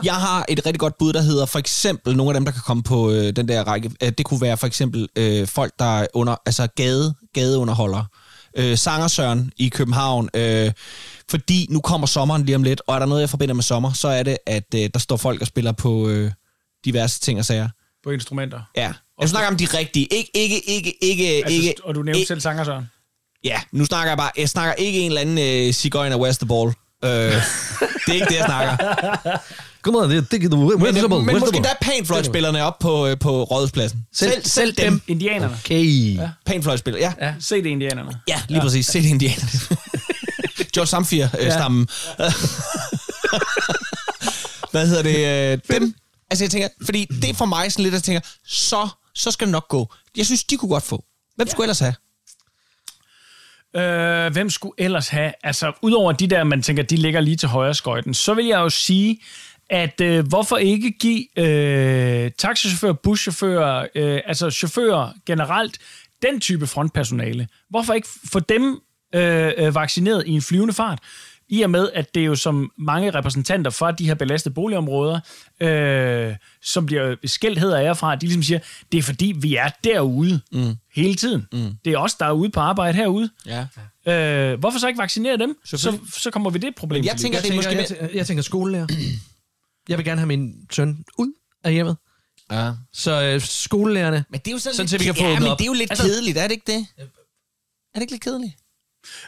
Speaker 4: Jeg har et rigtig godt bud, der hedder for eksempel nogle af dem, der kan komme på øh, den der række. Øh, det kunne være for eksempel øh, folk, der er under, altså gade, gadeunderholdere. Øh, Sangersøren i København. Øh, fordi nu kommer sommeren lige om lidt, og er der noget, jeg forbinder med sommer, så er det, at øh, der står folk og spiller på øh, diverse ting og sager.
Speaker 2: På instrumenter.
Speaker 4: Ja. Jeg snakker om de rigtige. Ikke, ikke, ikke, ikke,
Speaker 2: Altså,
Speaker 4: ikke.
Speaker 2: og du nævnte
Speaker 4: ikke-
Speaker 2: selv sanger, Søren.
Speaker 4: Ja, nu snakker jeg bare... Jeg snakker ikke en eller anden øh, cigøjner Where's the ball. Øh, det er ikke det, jeg snakker.
Speaker 3: Kom on, det er
Speaker 4: Men,
Speaker 3: det,
Speaker 4: men måske der er panfløjtspillerne op på, øh, på rådhuspladsen. Selv, selv dem.
Speaker 2: Indianerne.
Speaker 3: Okay.
Speaker 4: Panfløjtspillere, ja.
Speaker 2: Ja. Se det, indianerne.
Speaker 4: Ja, lige ja. præcis. Selv indianerne. George øh, Samfir-stammen. Ja. Hvad hedder det? Øh, dem. Altså jeg tænker, fordi det er for mig sådan lidt, at jeg tænker, så, så skal det nok gå. Jeg synes, de kunne godt få. Hvem skulle ellers have?
Speaker 2: Øh, hvem skulle ellers have? Altså, udover de der, man tænker, de ligger lige til højre skøjten, så vil jeg jo sige, at øh, hvorfor ikke give øh, taxichauffører, buschauffører, øh, altså chauffører generelt, den type frontpersonale, hvorfor ikke få dem øh, øh, vaccineret i en flyvende fart? I og med, at det er jo som mange repræsentanter fra de her belastede boligområder, øh, som bliver skældt hedder jeg fra, de ligesom siger, det er fordi, vi er derude mm. hele tiden. Mm. Det er os, der er ude på arbejde herude.
Speaker 4: Ja.
Speaker 2: Øh, hvorfor så ikke vaccinere dem? Så, så kommer vi det problem
Speaker 4: Jeg
Speaker 2: til
Speaker 4: tænker,
Speaker 2: livs.
Speaker 4: det er måske...
Speaker 3: Jeg, tænker, jeg tænker skolelærer. Jeg vil gerne have min søn ud af hjemmet.
Speaker 4: Ja.
Speaker 3: Så øh, skolelærerne...
Speaker 4: Men det er jo sådan,
Speaker 3: Sådan, så
Speaker 4: lidt,
Speaker 3: vi kan få
Speaker 4: ja,
Speaker 3: åbnet
Speaker 4: men
Speaker 3: op.
Speaker 4: det er jo lidt altså, kedeligt, er det ikke det? Er det ikke lidt kedeligt?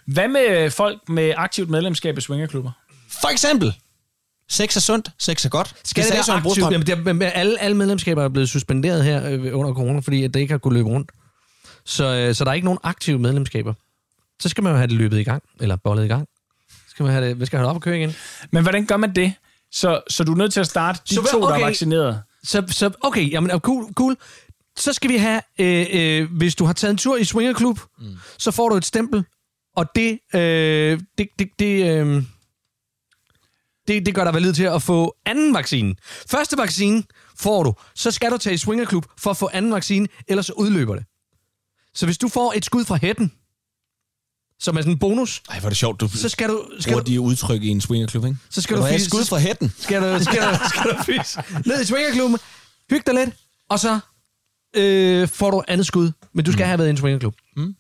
Speaker 2: Hvad med folk med aktivt medlemskab i swingerklubber?
Speaker 4: For eksempel, sex er sundt, sex er godt.
Speaker 3: Skal det, det være aktivt? Jamen, det er, men alle, alle medlemskaber er blevet suspenderet her øh, under corona, fordi at det ikke har kunnet løbe rundt. Så, øh, så der er ikke nogen aktive medlemskaber. Så skal man jo have det løbet i gang, eller bollet i gang. Så Skal man have det, man skal have det op og køre igen.
Speaker 2: Men hvordan gør man det? Så, så du er nødt til at starte de
Speaker 3: Så hvad-
Speaker 2: to, der
Speaker 3: okay.
Speaker 2: er vaccineret.
Speaker 3: Så, så okay, jamen, øh, cool, cool. Så skal vi have, øh, øh, hvis du har taget en tur i swingerklub, mm. så får du et stempel, og det, øh, det, det, det, øh, det, det gør dig valid til at få anden vaccine. Første vaccine får du, så skal du tage i swingerklub for at få anden vaccine, ellers så udløber det. Så hvis du får et skud fra hætten, som er sådan en bonus,
Speaker 4: Ej, hvor er det sjovt, du
Speaker 3: så skal du, skal
Speaker 4: bruger
Speaker 3: du,
Speaker 4: de udtryk i en swingerklub, ikke?
Speaker 3: så skal
Speaker 4: Nå,
Speaker 3: du,
Speaker 4: jeg er
Speaker 3: fise-
Speaker 4: skud fra hætten.
Speaker 3: skal du, skal du, skal du fys ned i swingerklubben, hyg dig lidt, og så øh, får du andet skud. Men du skal mm. have været i en swingerklub.
Speaker 2: Men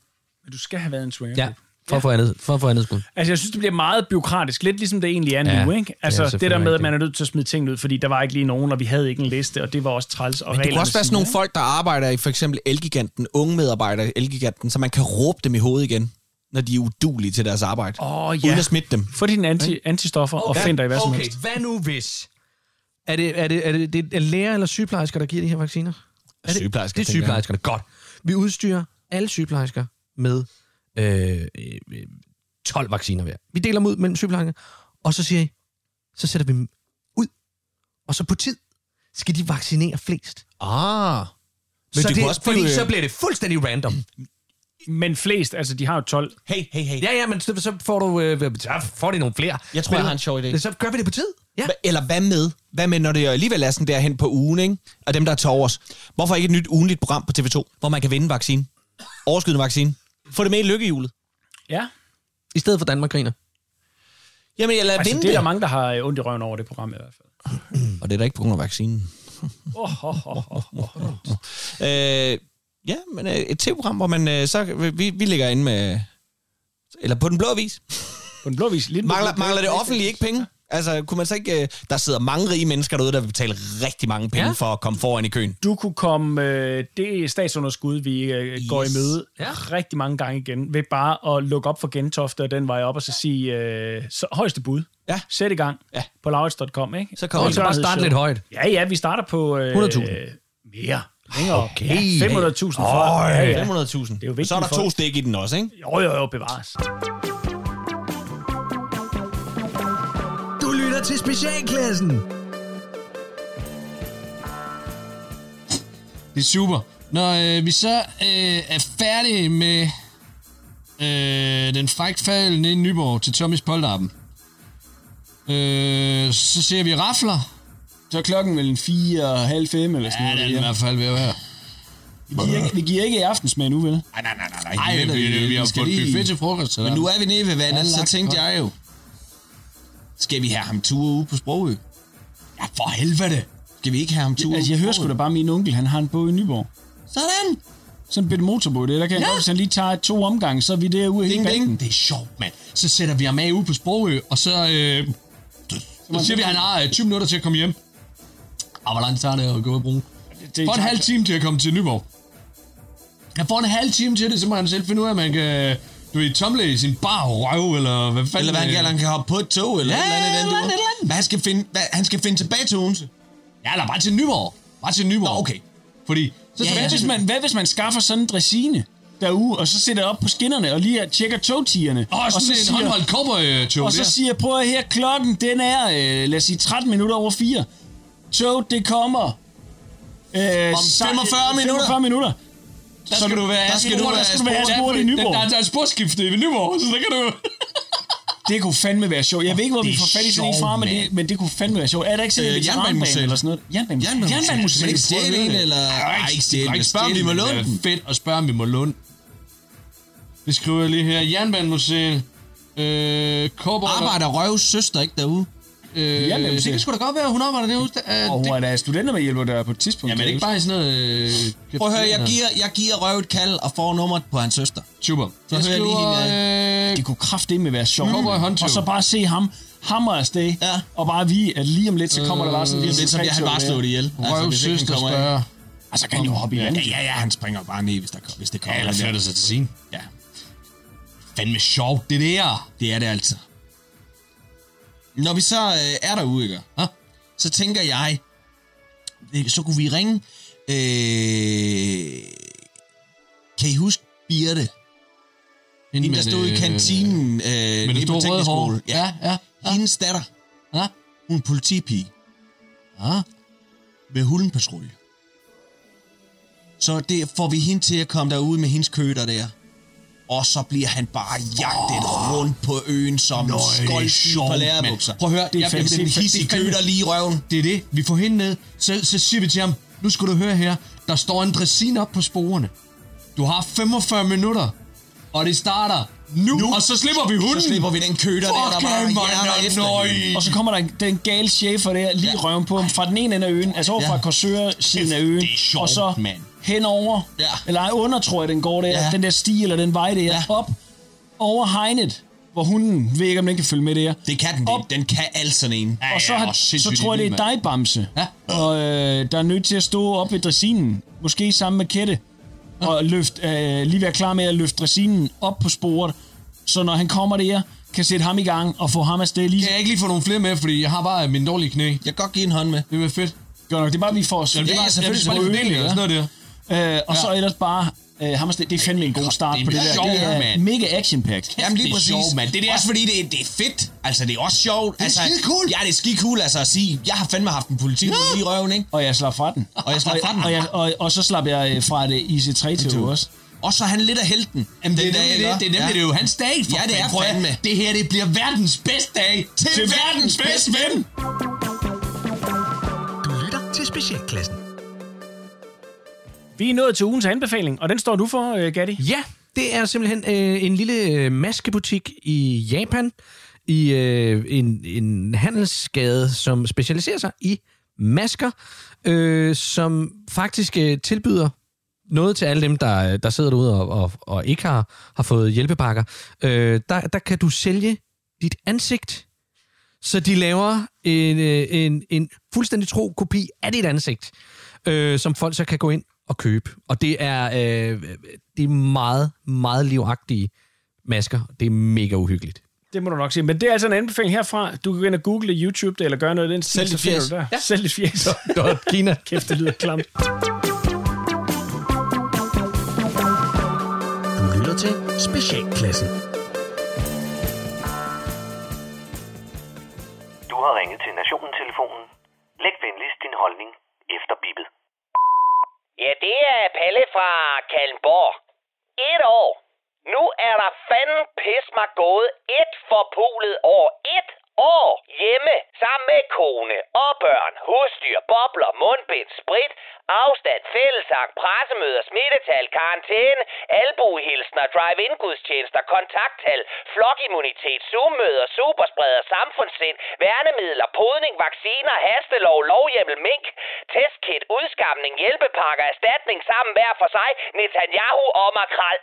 Speaker 2: du skal have været i en swingerklub. Ja.
Speaker 3: For, at få andet, for at få andet skud.
Speaker 2: Altså, jeg synes, det bliver meget byråkratisk. Lidt ligesom det egentlig er
Speaker 3: Ja,
Speaker 2: nu, ikke?
Speaker 3: det er
Speaker 2: Altså, det, det der
Speaker 3: selvfølgelig
Speaker 2: med, at
Speaker 3: rigtigt.
Speaker 2: man er nødt til at smide ting ud, fordi der var ikke lige nogen, og vi havde ikke en liste, og det var også træls. Og Men
Speaker 4: Det kunne også være sådan nogle folk, der arbejder i for eksempel Elgiganten, unge medarbejdere i Elgiganten, så man kan råbe dem i hovedet igen, når de er udulige til deres arbejde.
Speaker 2: Åh, ja.
Speaker 4: Uden at smitte dem.
Speaker 2: Få dine anti, antistoffer og find dig i hvad som
Speaker 3: okay,
Speaker 2: helst.
Speaker 3: hvad nu hvis? Er det, er det, er det, det er læger eller sygeplejersker, der giver de her vacciner? Er det,
Speaker 4: Sygeplejersker,
Speaker 3: Det er
Speaker 4: tænker jeg.
Speaker 3: sygeplejerskerne. Godt. Vi udstyrer alle sygeplejersker med øh, øh, øh, 12 vacciner hver. Vi deler dem ud mellem sygeplejerskerne, og så siger I, så sætter vi dem ud, og så på tid skal de vaccinere flest.
Speaker 4: Ah. Men
Speaker 3: så
Speaker 4: du
Speaker 3: det,
Speaker 4: kunne også
Speaker 3: fordi
Speaker 4: blive...
Speaker 3: så bliver det fuldstændig random.
Speaker 2: Men flest, altså, de har jo 12.
Speaker 4: Hey, hey, hey.
Speaker 3: Ja, ja, men så, så får du øh, så får de nogle flere.
Speaker 4: Jeg tror, jeg har en sjov idé.
Speaker 3: Men Så gør vi det på tid. Ja.
Speaker 4: Hva- Eller hvad med? Hvad med, når det alligevel er sådan der hen på ugen, ikke? Og dem, der er til overs. Hvorfor ikke et nyt ugenligt program på TV2, hvor man kan vinde vaccine? Overskydende vaccine. Få det med i lykkehjulet.
Speaker 2: Ja.
Speaker 3: I stedet for Danmark griner.
Speaker 4: Jamen, jeg lader
Speaker 2: Altså,
Speaker 4: vinde
Speaker 2: det er der
Speaker 4: det.
Speaker 2: mange, der har øh, ondt i røven over det program i hvert fald.
Speaker 4: Og det er da ikke på grund af vaccinen.
Speaker 2: Oh, oh, oh, oh, oh.
Speaker 4: Øh, Ja, men øh, et tv-program, hvor man øh, så... Vi, vi ligger inde med... Eller på den blå vis.
Speaker 12: På den blå vis. Lidt
Speaker 4: Mangler, mangler det offentlige ikke penge? Altså, kunne man så ikke... Øh, der sidder mange rige mennesker derude, der vil betale rigtig mange penge ja. for at komme foran i køen.
Speaker 12: Du kunne komme øh, det statsunderskud, vi øh, går i
Speaker 4: Yes.
Speaker 12: møde ja. rigtig mange gange igen, ved bare at lukke op for Gentofte og den vej op, og så sige øh, så, højeste bud.
Speaker 4: Ja.
Speaker 12: Sæt i gang
Speaker 4: Ja.
Speaker 12: på lavets.com, ikke?
Speaker 4: Så kommer
Speaker 12: Og
Speaker 4: vi.
Speaker 3: Så bare starte lidt højt.
Speaker 12: Ja, ja, vi starter på... Øh,
Speaker 3: 100.000.
Speaker 12: Mere. Længere. Okay. Ja, 500.000 for.
Speaker 4: Øj,
Speaker 12: Ja, ja.
Speaker 4: 500.000.
Speaker 12: er jo vigtigt
Speaker 4: Så er der
Speaker 12: for-
Speaker 4: to stik i den også, ikke?
Speaker 12: Jo, jo, jo, bevares.
Speaker 13: Du lytter til Specialklassen.
Speaker 8: Det er super. Når øh, vi så øh, er færdige med øh, den frægtfaldende i Nyborg til Tommys Polterappen, øh, så ser vi rafler.
Speaker 2: Så er klokken vel en fire og halv fem eller sådan
Speaker 8: Ja, det er
Speaker 2: noget.
Speaker 8: den i hvert fald ved at være.
Speaker 2: vi, giver ikke, vi giver ikke i aftensmad nu, vel?
Speaker 4: Nej, nej, nej, nej.
Speaker 8: Ej, vi, vi, vi har
Speaker 2: skal
Speaker 8: fået
Speaker 2: lige-
Speaker 8: buffet til frokost. Så
Speaker 4: Men nu er vi nede ved vandet,
Speaker 8: Ja,
Speaker 4: så
Speaker 8: lagt
Speaker 4: tænkte
Speaker 8: godt.
Speaker 4: jeg jo... Skal vi have ham ture ude på Sprogø? Ja, for helvede. Skal vi ikke have ham ture
Speaker 2: Altså, jeg hører sgu da bare min onkel, han har en båd i Nyborg.
Speaker 4: Sådan.
Speaker 2: Sådan en bitte motorbåd, det der kan ja. godt, hvis han lige tager et- to omgange, så er vi derude hele
Speaker 8: Ding,
Speaker 2: banden.
Speaker 8: ding. Det er sjovt, mand. Så sætter vi ham af ude på Sprogø, og så, øh, så siger vi, at han har øh, 20 minutter til at komme hjem. Og hvor lang tid tager det at gå og bruge?
Speaker 2: Det,
Speaker 8: Får en halv time til at komme til Nyborg. Han får en halv time til det, så må han selv finde ud af, at man kan... Du ved, tomle i sin bar røv, eller hvad fanden...
Speaker 4: Eller
Speaker 8: øh,
Speaker 2: øh,
Speaker 4: hvad han kan, eller han kan hoppe på et tog, eller
Speaker 8: Ja,
Speaker 4: et eller andet. i den
Speaker 8: eller
Speaker 4: dur.
Speaker 8: andet, eller andet.
Speaker 4: Hvad han skal finde, hvad, han skal finde tilbage til Odense.
Speaker 8: Ja, eller bare til Nyborg. Bare til Nyborg. Nå, okay. Fordi... Så
Speaker 2: Hvad, hvis man, hvad hvis man skaffer sådan en dressine derude, og så sætter op på skinnerne og lige tjekker togtigerne?
Speaker 8: Åh, sådan en håndholdt cowboy-tog
Speaker 2: Og så
Speaker 8: der.
Speaker 2: siger jeg, prøv at her, klokken den er, øh, lad os sige, 13 minutter over 4. Toget, det kommer... Øh,
Speaker 4: Om 45 minutter.
Speaker 2: 45 minutter.
Speaker 8: Der skal du være...
Speaker 4: der skal du
Speaker 2: der
Speaker 4: være
Speaker 2: skal du være
Speaker 4: spor-
Speaker 2: spor i Nyborg.
Speaker 8: Der, der er et sporskifte i Nyborg, så der kan du...
Speaker 2: Det kunne fandme være sjovt. Jeg ved ikke, hvor vi
Speaker 8: Det er
Speaker 2: får fat i sådan en
Speaker 8: sjovt,
Speaker 2: fra, men det,
Speaker 8: mand.
Speaker 2: men det kunne fandme være sjovt. Er der ikke sådan
Speaker 4: Øh,
Speaker 2: en øh,
Speaker 4: Jernbanemuseet.
Speaker 2: eller sådan noget? Jernbanemuseet.
Speaker 4: Jernbanemuseet.
Speaker 2: Jernbanemuseet.
Speaker 4: Men ikke stjæle
Speaker 2: Prøv at
Speaker 4: en,
Speaker 2: høre det.
Speaker 4: eller-
Speaker 2: Ej,
Speaker 4: Ej, ikke stjæle
Speaker 8: Ikke
Speaker 4: den.
Speaker 8: spørg, om vi må låne den. fedt at spørge, om vi må låne den. Det skriver jeg lige her. Jernbanemuseet. Øh, Cowboy...
Speaker 4: Arbejder Røvs søster ikke derude?
Speaker 8: Øh,
Speaker 2: Jernbanemuseet.
Speaker 8: det kan sgu da godt være, hun arbejder derude. Øh,
Speaker 2: Og
Speaker 8: det,
Speaker 2: hun er da studenter med hjælper der på et tidspunkt.
Speaker 8: jamen, er
Speaker 2: kan
Speaker 8: det
Speaker 2: jeg huske.
Speaker 8: ikke bare i sådan noget... Øh,
Speaker 4: Prøv at høre, jeg giver, jeg giver Røv et kald og får nummeret på hans søster.
Speaker 8: Super. Så jeg
Speaker 4: hører jeg lige
Speaker 8: skriver... Øh,
Speaker 2: Det kunne kraftedeme være sjovt.
Speaker 8: Cowboy håndtøv.
Speaker 2: Og så bare se ham hammer afsted,
Speaker 4: Ja. Øh,
Speaker 2: og bare vi, at lige om lidt, så kommer der bare sådan en
Speaker 4: Lidt som jeg har bare slået det ihjel. Altså,
Speaker 8: Røv
Speaker 4: hvis ikke han
Speaker 8: søster
Speaker 4: kommer af.
Speaker 8: spørger.
Speaker 2: Altså, kan han jo hoppe i
Speaker 4: Ja,
Speaker 2: vandet.
Speaker 4: ja, ja, han springer bare ned, hvis, der, kom- hvis det kommer.
Speaker 8: Eller flytter sig til sin.
Speaker 4: Ja,
Speaker 8: Fandme sjovt, det der.
Speaker 4: det er det altså. Når vi så øh, er derude, ikke?
Speaker 8: Hå?
Speaker 4: så tænker jeg, øh, så kunne vi ringe, øh, kan I huske Birte?
Speaker 8: Hende
Speaker 4: Hende, der
Speaker 8: med
Speaker 4: stod i
Speaker 8: det-
Speaker 4: kantinen øh, nede
Speaker 8: Med det
Speaker 4: på
Speaker 8: store røde
Speaker 4: teknisk
Speaker 8: hår.
Speaker 4: skole. Ja.
Speaker 8: Ja, ja.
Speaker 4: ja. Hendes datter,
Speaker 8: Ja.
Speaker 4: hun er politipige
Speaker 8: Ja.
Speaker 4: med hulenpatrulje. Så det får vi hende til at komme derude med hendes køder der. Og så bliver han bare jagtet oh. rundt på øen som
Speaker 8: Nøj, det er
Speaker 4: skoldsky
Speaker 8: sjovt,
Speaker 4: på
Speaker 8: mand.
Speaker 4: lærerbukser.
Speaker 8: Prøv at høre,
Speaker 4: det
Speaker 8: jeg
Speaker 4: er fandme
Speaker 8: bliver-
Speaker 4: en
Speaker 8: det er
Speaker 4: hissig
Speaker 8: fandme-
Speaker 4: køder lige i røven.
Speaker 8: Det er det. Vi får hende ned. Så, så siger vi til ham, nu skal du høre her, der står en dressin op på sporene. Du har 45 minutter, og det starter nu, nu. og så slipper vi hunden.
Speaker 4: Så slipper vi den køder der, der
Speaker 8: Fuck,
Speaker 4: bare
Speaker 8: mand,
Speaker 4: hjerner efter
Speaker 8: nøj.
Speaker 4: hende.
Speaker 2: Og så kommer der en- den gale chefer der lige ja.
Speaker 4: Ja.
Speaker 2: røven på ham fra den ene ende af øen, altså over
Speaker 4: Ja.
Speaker 2: fra Korsør-siden af øen,
Speaker 4: det er sjovt,
Speaker 2: og så
Speaker 4: mand.
Speaker 2: henover,
Speaker 4: Ja.
Speaker 2: eller ej, under, tror jeg, den går der,
Speaker 4: Ja.
Speaker 2: den der sti eller den vej der,
Speaker 4: Ja.
Speaker 2: op over hegnet, hvor hunden, ved ikke om den kan følge med der.
Speaker 4: Det kan den,
Speaker 2: Op.
Speaker 4: det. den kan alt sådan en.
Speaker 2: og så, har, så tror jeg, det er dig, Bamse,
Speaker 8: Ja.
Speaker 2: og, øh, der er nødt til at stå op ved dressinen, måske sammen med Kette, og løft, øh, lige være klar med at løfte dressinen op på sporet, så når han kommer der, kan sætte ham i gang og få ham afsted lige
Speaker 8: Kan jeg ikke lige få nogle flere med, fordi jeg har bare min dårlige knæ.
Speaker 4: Jeg kan godt give en hånd med.
Speaker 8: Det vil være fedt.
Speaker 2: Godt nok, det er bare, vi får...
Speaker 8: Jamen, det
Speaker 4: Ja,
Speaker 8: er bare,
Speaker 4: selvfølgelig,
Speaker 8: selvfølgelig, bare
Speaker 2: selvfølgelig.
Speaker 8: fordeling og sådan noget der.
Speaker 2: Øh, og så ellers bare øh, Hammerstedt. Det er fandme en god start på det der.
Speaker 8: sjovt,
Speaker 2: Det er
Speaker 8: mand.
Speaker 2: mega action-packed.
Speaker 4: Jamen lige
Speaker 8: det er
Speaker 4: præcis.
Speaker 8: sjovt, mand. Det der-
Speaker 4: Også fordi det, det er fedt. Altså, det er også sjovt. Det er altså,
Speaker 8: skidekul.
Speaker 4: Ja, det er skide cool, altså at sige, jeg har fandme haft en politik ja. i røven, ikke?
Speaker 2: Og jeg slap fra den.
Speaker 4: Og jeg slap fra den.
Speaker 2: Og, jeg, og, og så slap jeg øh, fra det IC3 til også.
Speaker 4: Og så er han lidt af helten.
Speaker 8: Jamen, det,
Speaker 4: den
Speaker 8: er
Speaker 4: dag,
Speaker 8: nemlig
Speaker 4: ikke?
Speaker 8: det, det er
Speaker 4: ja.
Speaker 8: nemlig det er jo hans dag. For
Speaker 4: Ja, det er
Speaker 8: Prøv at-
Speaker 4: fandme.
Speaker 8: Det her, det bliver verdens bedste dag til, til verdens bedste ven.
Speaker 13: Du lytter til Specialklassen.
Speaker 12: Vi er nået til ugens anbefaling, og den står du for, øh, Gatti.
Speaker 3: Ja, det er simpelthen øh, en lille øh, maskebutik i Japan, i øh, en, en handelsgade, som specialiserer sig i masker, øh, som faktisk øh, tilbyder noget til alle dem, der, der sidder derude og, og, og ikke har, har fået hjælpepakker. Øh, der, der kan du sælge dit ansigt, så de laver en, øh, en, en fuldstændig tro kopi af dit ansigt, øh, som folk så kan gå ind og købe. Og det er, øh, det er meget, meget livagtige masker. Det er mega uhyggeligt.
Speaker 2: Det må du nok sige. Men det er altså en anbefaling herfra. Du kan gå ind og google YouTube det, eller gøre noget af den stil,
Speaker 3: Sælg
Speaker 2: så
Speaker 3: dit
Speaker 2: finder
Speaker 3: fjes.
Speaker 2: du det der.
Speaker 3: Ja.
Speaker 2: Sælg dit fjes.
Speaker 3: Kina.
Speaker 2: Kæft, det lyder klamt.
Speaker 11: Du lytter til Specialklassen.
Speaker 14: Du har ringet til Nationen-telefonen. Læg venligst din holdning efter bippet.
Speaker 6: Ja, det er Palle fra Kalmborg. Et år. Nu er der fanden pis mig gået et forpulet år. Et år hjemme sammen med kone og børn, husdyr, bobler, mundbind, sprit, afstand, fællesang, pressemøder, smittetal, karantæne, albuehilsner, drive-in-gudstjenester, kontakttal, flokimmunitet, zoom-møder, superspreder, samfundssind, værnemidler, podning, vacciner, hastelov, lovhjemmel, mink, testkit, udskamning, hjælpepakker, erstatning sammen hver for sig, Netanyahu og Makral.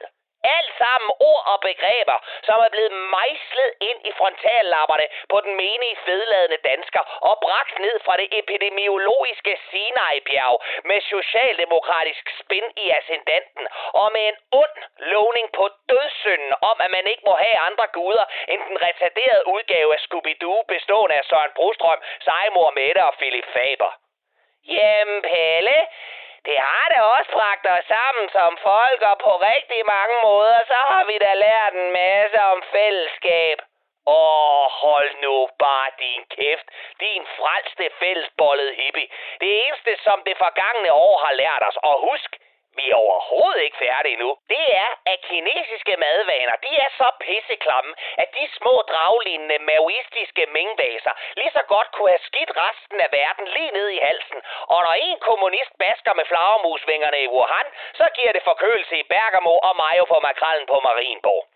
Speaker 6: Alt sammen ord og begreber, som er blevet mejslet ind i frontallapperne på den menige fedladende dansker og bragt ned fra det epidemiologiske Sinai-bjerg med socialdemokratisk spin i ascendanten og med en ond lovning på dødssynden om, at man ikke må have andre guder end den retarderede udgave af Scooby-Doo bestående af Søren Brostrøm, Sejmor Mette og Philip Faber. Jamen Pelle, det har da også bragt os sammen som folk, og på rigtig mange måder, så har vi da lært en masse om fællesskab. Åh, hold nu bare din kæft. Din frelste fællesbollede hippie. Det eneste, som det forgangne år har lært os. Og husk, vi er overhovedet ikke færdige endnu. Det er, at kinesiske madvaner, de er så pisseklamme, at de små draglignende maoistiske mængdaser lige så godt kunne have skidt resten af verden lige ned i halsen. Og når en kommunist basker med flagermusvingerne i Wuhan, så giver det forkølelse i Bergamo og mayo for makrallen på Marienborg.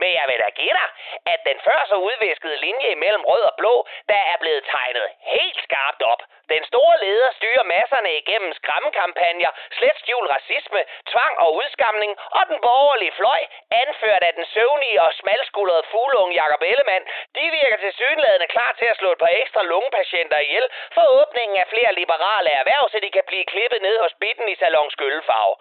Speaker 6: Men jeg vil da give dig, at den før så udviskede linje imellem rød og blå, der er blevet tegnet helt skarpt op. Den store leder styrer masserne igennem skræmmekampagner, slet skjul racisme, tvang og udskamning, og den borgerlige fløj, anført af den søvnige og smalskuldrede fugleunge Jakob Ellemann, de virker til synlædende klar til at slå et par ekstra lungepatienter ihjel for åbningen af flere liberale erhverv, så de kan blive klippet ned hos bitten i salons skyllefarve.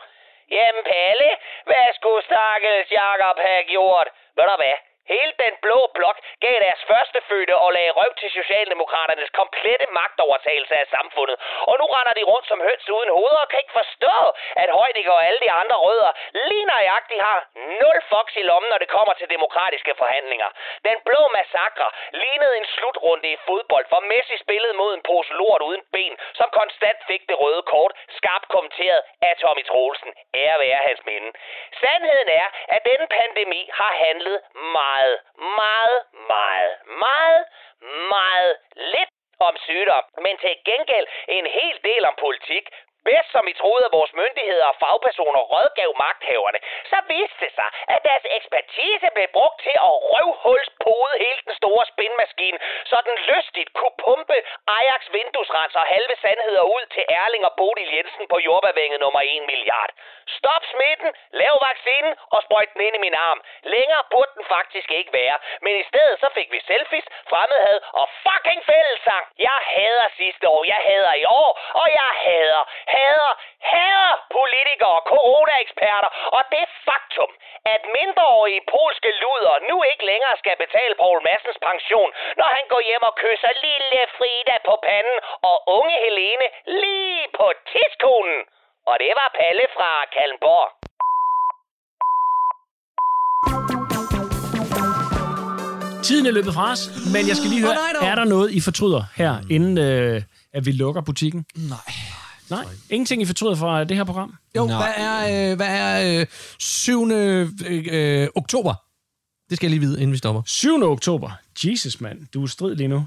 Speaker 6: Jamen Palle, hvad skulle stakkels Jakob have gjort? Ved du hvad? Hele den blå blok gav deres førstefødte og lagde røv til Socialdemokraternes komplette magtovertagelse af samfundet. Og nu render de rundt som høns uden hoveder og kan ikke forstå, at Højdinger og alle de andre rødder lige nøjagtigt har nul foks i lommen, når det kommer til demokratiske forhandlinger. Den blå massakre lignede en slutrunde i fodbold, hvor Messi spillede mod en pose lort uden ben, som konstant fik det røde kort, skarpt kommenteret af Tommy Troelsen. Ære være hans minde. Sandheden er, at denne pandemi har handlet meget, meget, meget, meget, meget lidt om sygdom, men til gengæld en hel del om politik. Bedst som I troede, at vores myndigheder og fagpersoner rådgav magthaverne, så viste det sig, at deres ekspertise blev brugt til at røvhulspode hele den store spinmaskine, så den lystigt kunne pumpe Ajax vinduesrenser og halve sandheder ud til Erling og Bodil Jensen på jordbærvænget nummer 1 milliard. Stop smitten, lav vaccinen og sprøjt den ind i min arm. Længere burde den faktisk ikke være, men i stedet så fik vi selfies, fremmedhed og fucking fællesang. Jeg hader sidste år, jeg hader i år, og jeg hader, hader, hader politikere og corona-eksperter, og det faktum, at mindreårige polske luder nu ikke længere skal betale Poul Massens pension, når han går hjem og kysser lille Frida på panden og unge Helene lige på tidskonen. Og det var Palle fra Kalmborg.
Speaker 2: Tiden er løbet fra os, men jeg skal lige høre,
Speaker 15: Åh, nej dog.
Speaker 2: er der noget, I fortryder her, inden øh, at vi lukker butikken?
Speaker 4: Nej.
Speaker 2: Nej, ingenting I fortryder fra det her program?
Speaker 3: Jo, hvad er, øh, hvad er øh, 7. Øh, øh, oktober? Det skal jeg lige vide, inden vi stopper.
Speaker 2: 7. oktober. Jesus, mand. Du er i strid lige nu.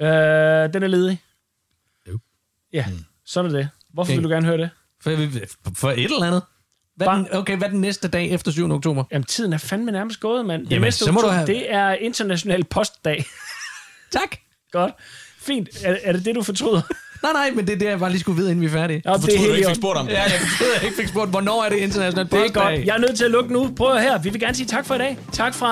Speaker 2: Øh, den er ledig. Jo. Ja, sådan er det. Hvorfor
Speaker 3: Okay.
Speaker 2: vil du gerne høre det?
Speaker 3: For, for et eller andet. Hvad er den, okay, hvad er den næste dag efter 7. oktober?
Speaker 2: Jamen, tiden er fandme nærmest gået, mand. Det
Speaker 3: Jamen,
Speaker 2: næste
Speaker 3: så må du
Speaker 2: oktober,
Speaker 3: have-
Speaker 2: Det er international postdag.
Speaker 3: tak.
Speaker 2: Godt. Fint. Er, er det det, du fortryder?
Speaker 3: Nej, nej, men det er det, jeg bare lige skulle vide, inden vi er færdige.
Speaker 2: Ja, Hvorfor det er troede du helt ikke, jeg fik i orden. spurgt om det?
Speaker 3: Ja, jeg troede, jeg ikke fik spurgt, hvornår er det internationalt
Speaker 2: Det er godt. Jeg er nødt til at lukke nu. Prøv at høre her. Vi vil gerne sige tak for i dag. Tak fra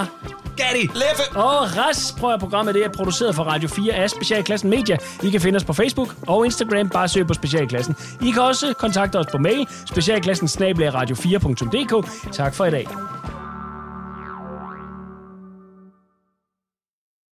Speaker 4: Gatti, Leffe
Speaker 2: og Ras. Prøv at programmet det er produceret for Radio 4 af Specialklassen Media. I kan finde os på Facebook og Instagram. Bare søg på Specialklassen. I kan også kontakte os på mail. Specialklassen radio 4dk Tak for i dag.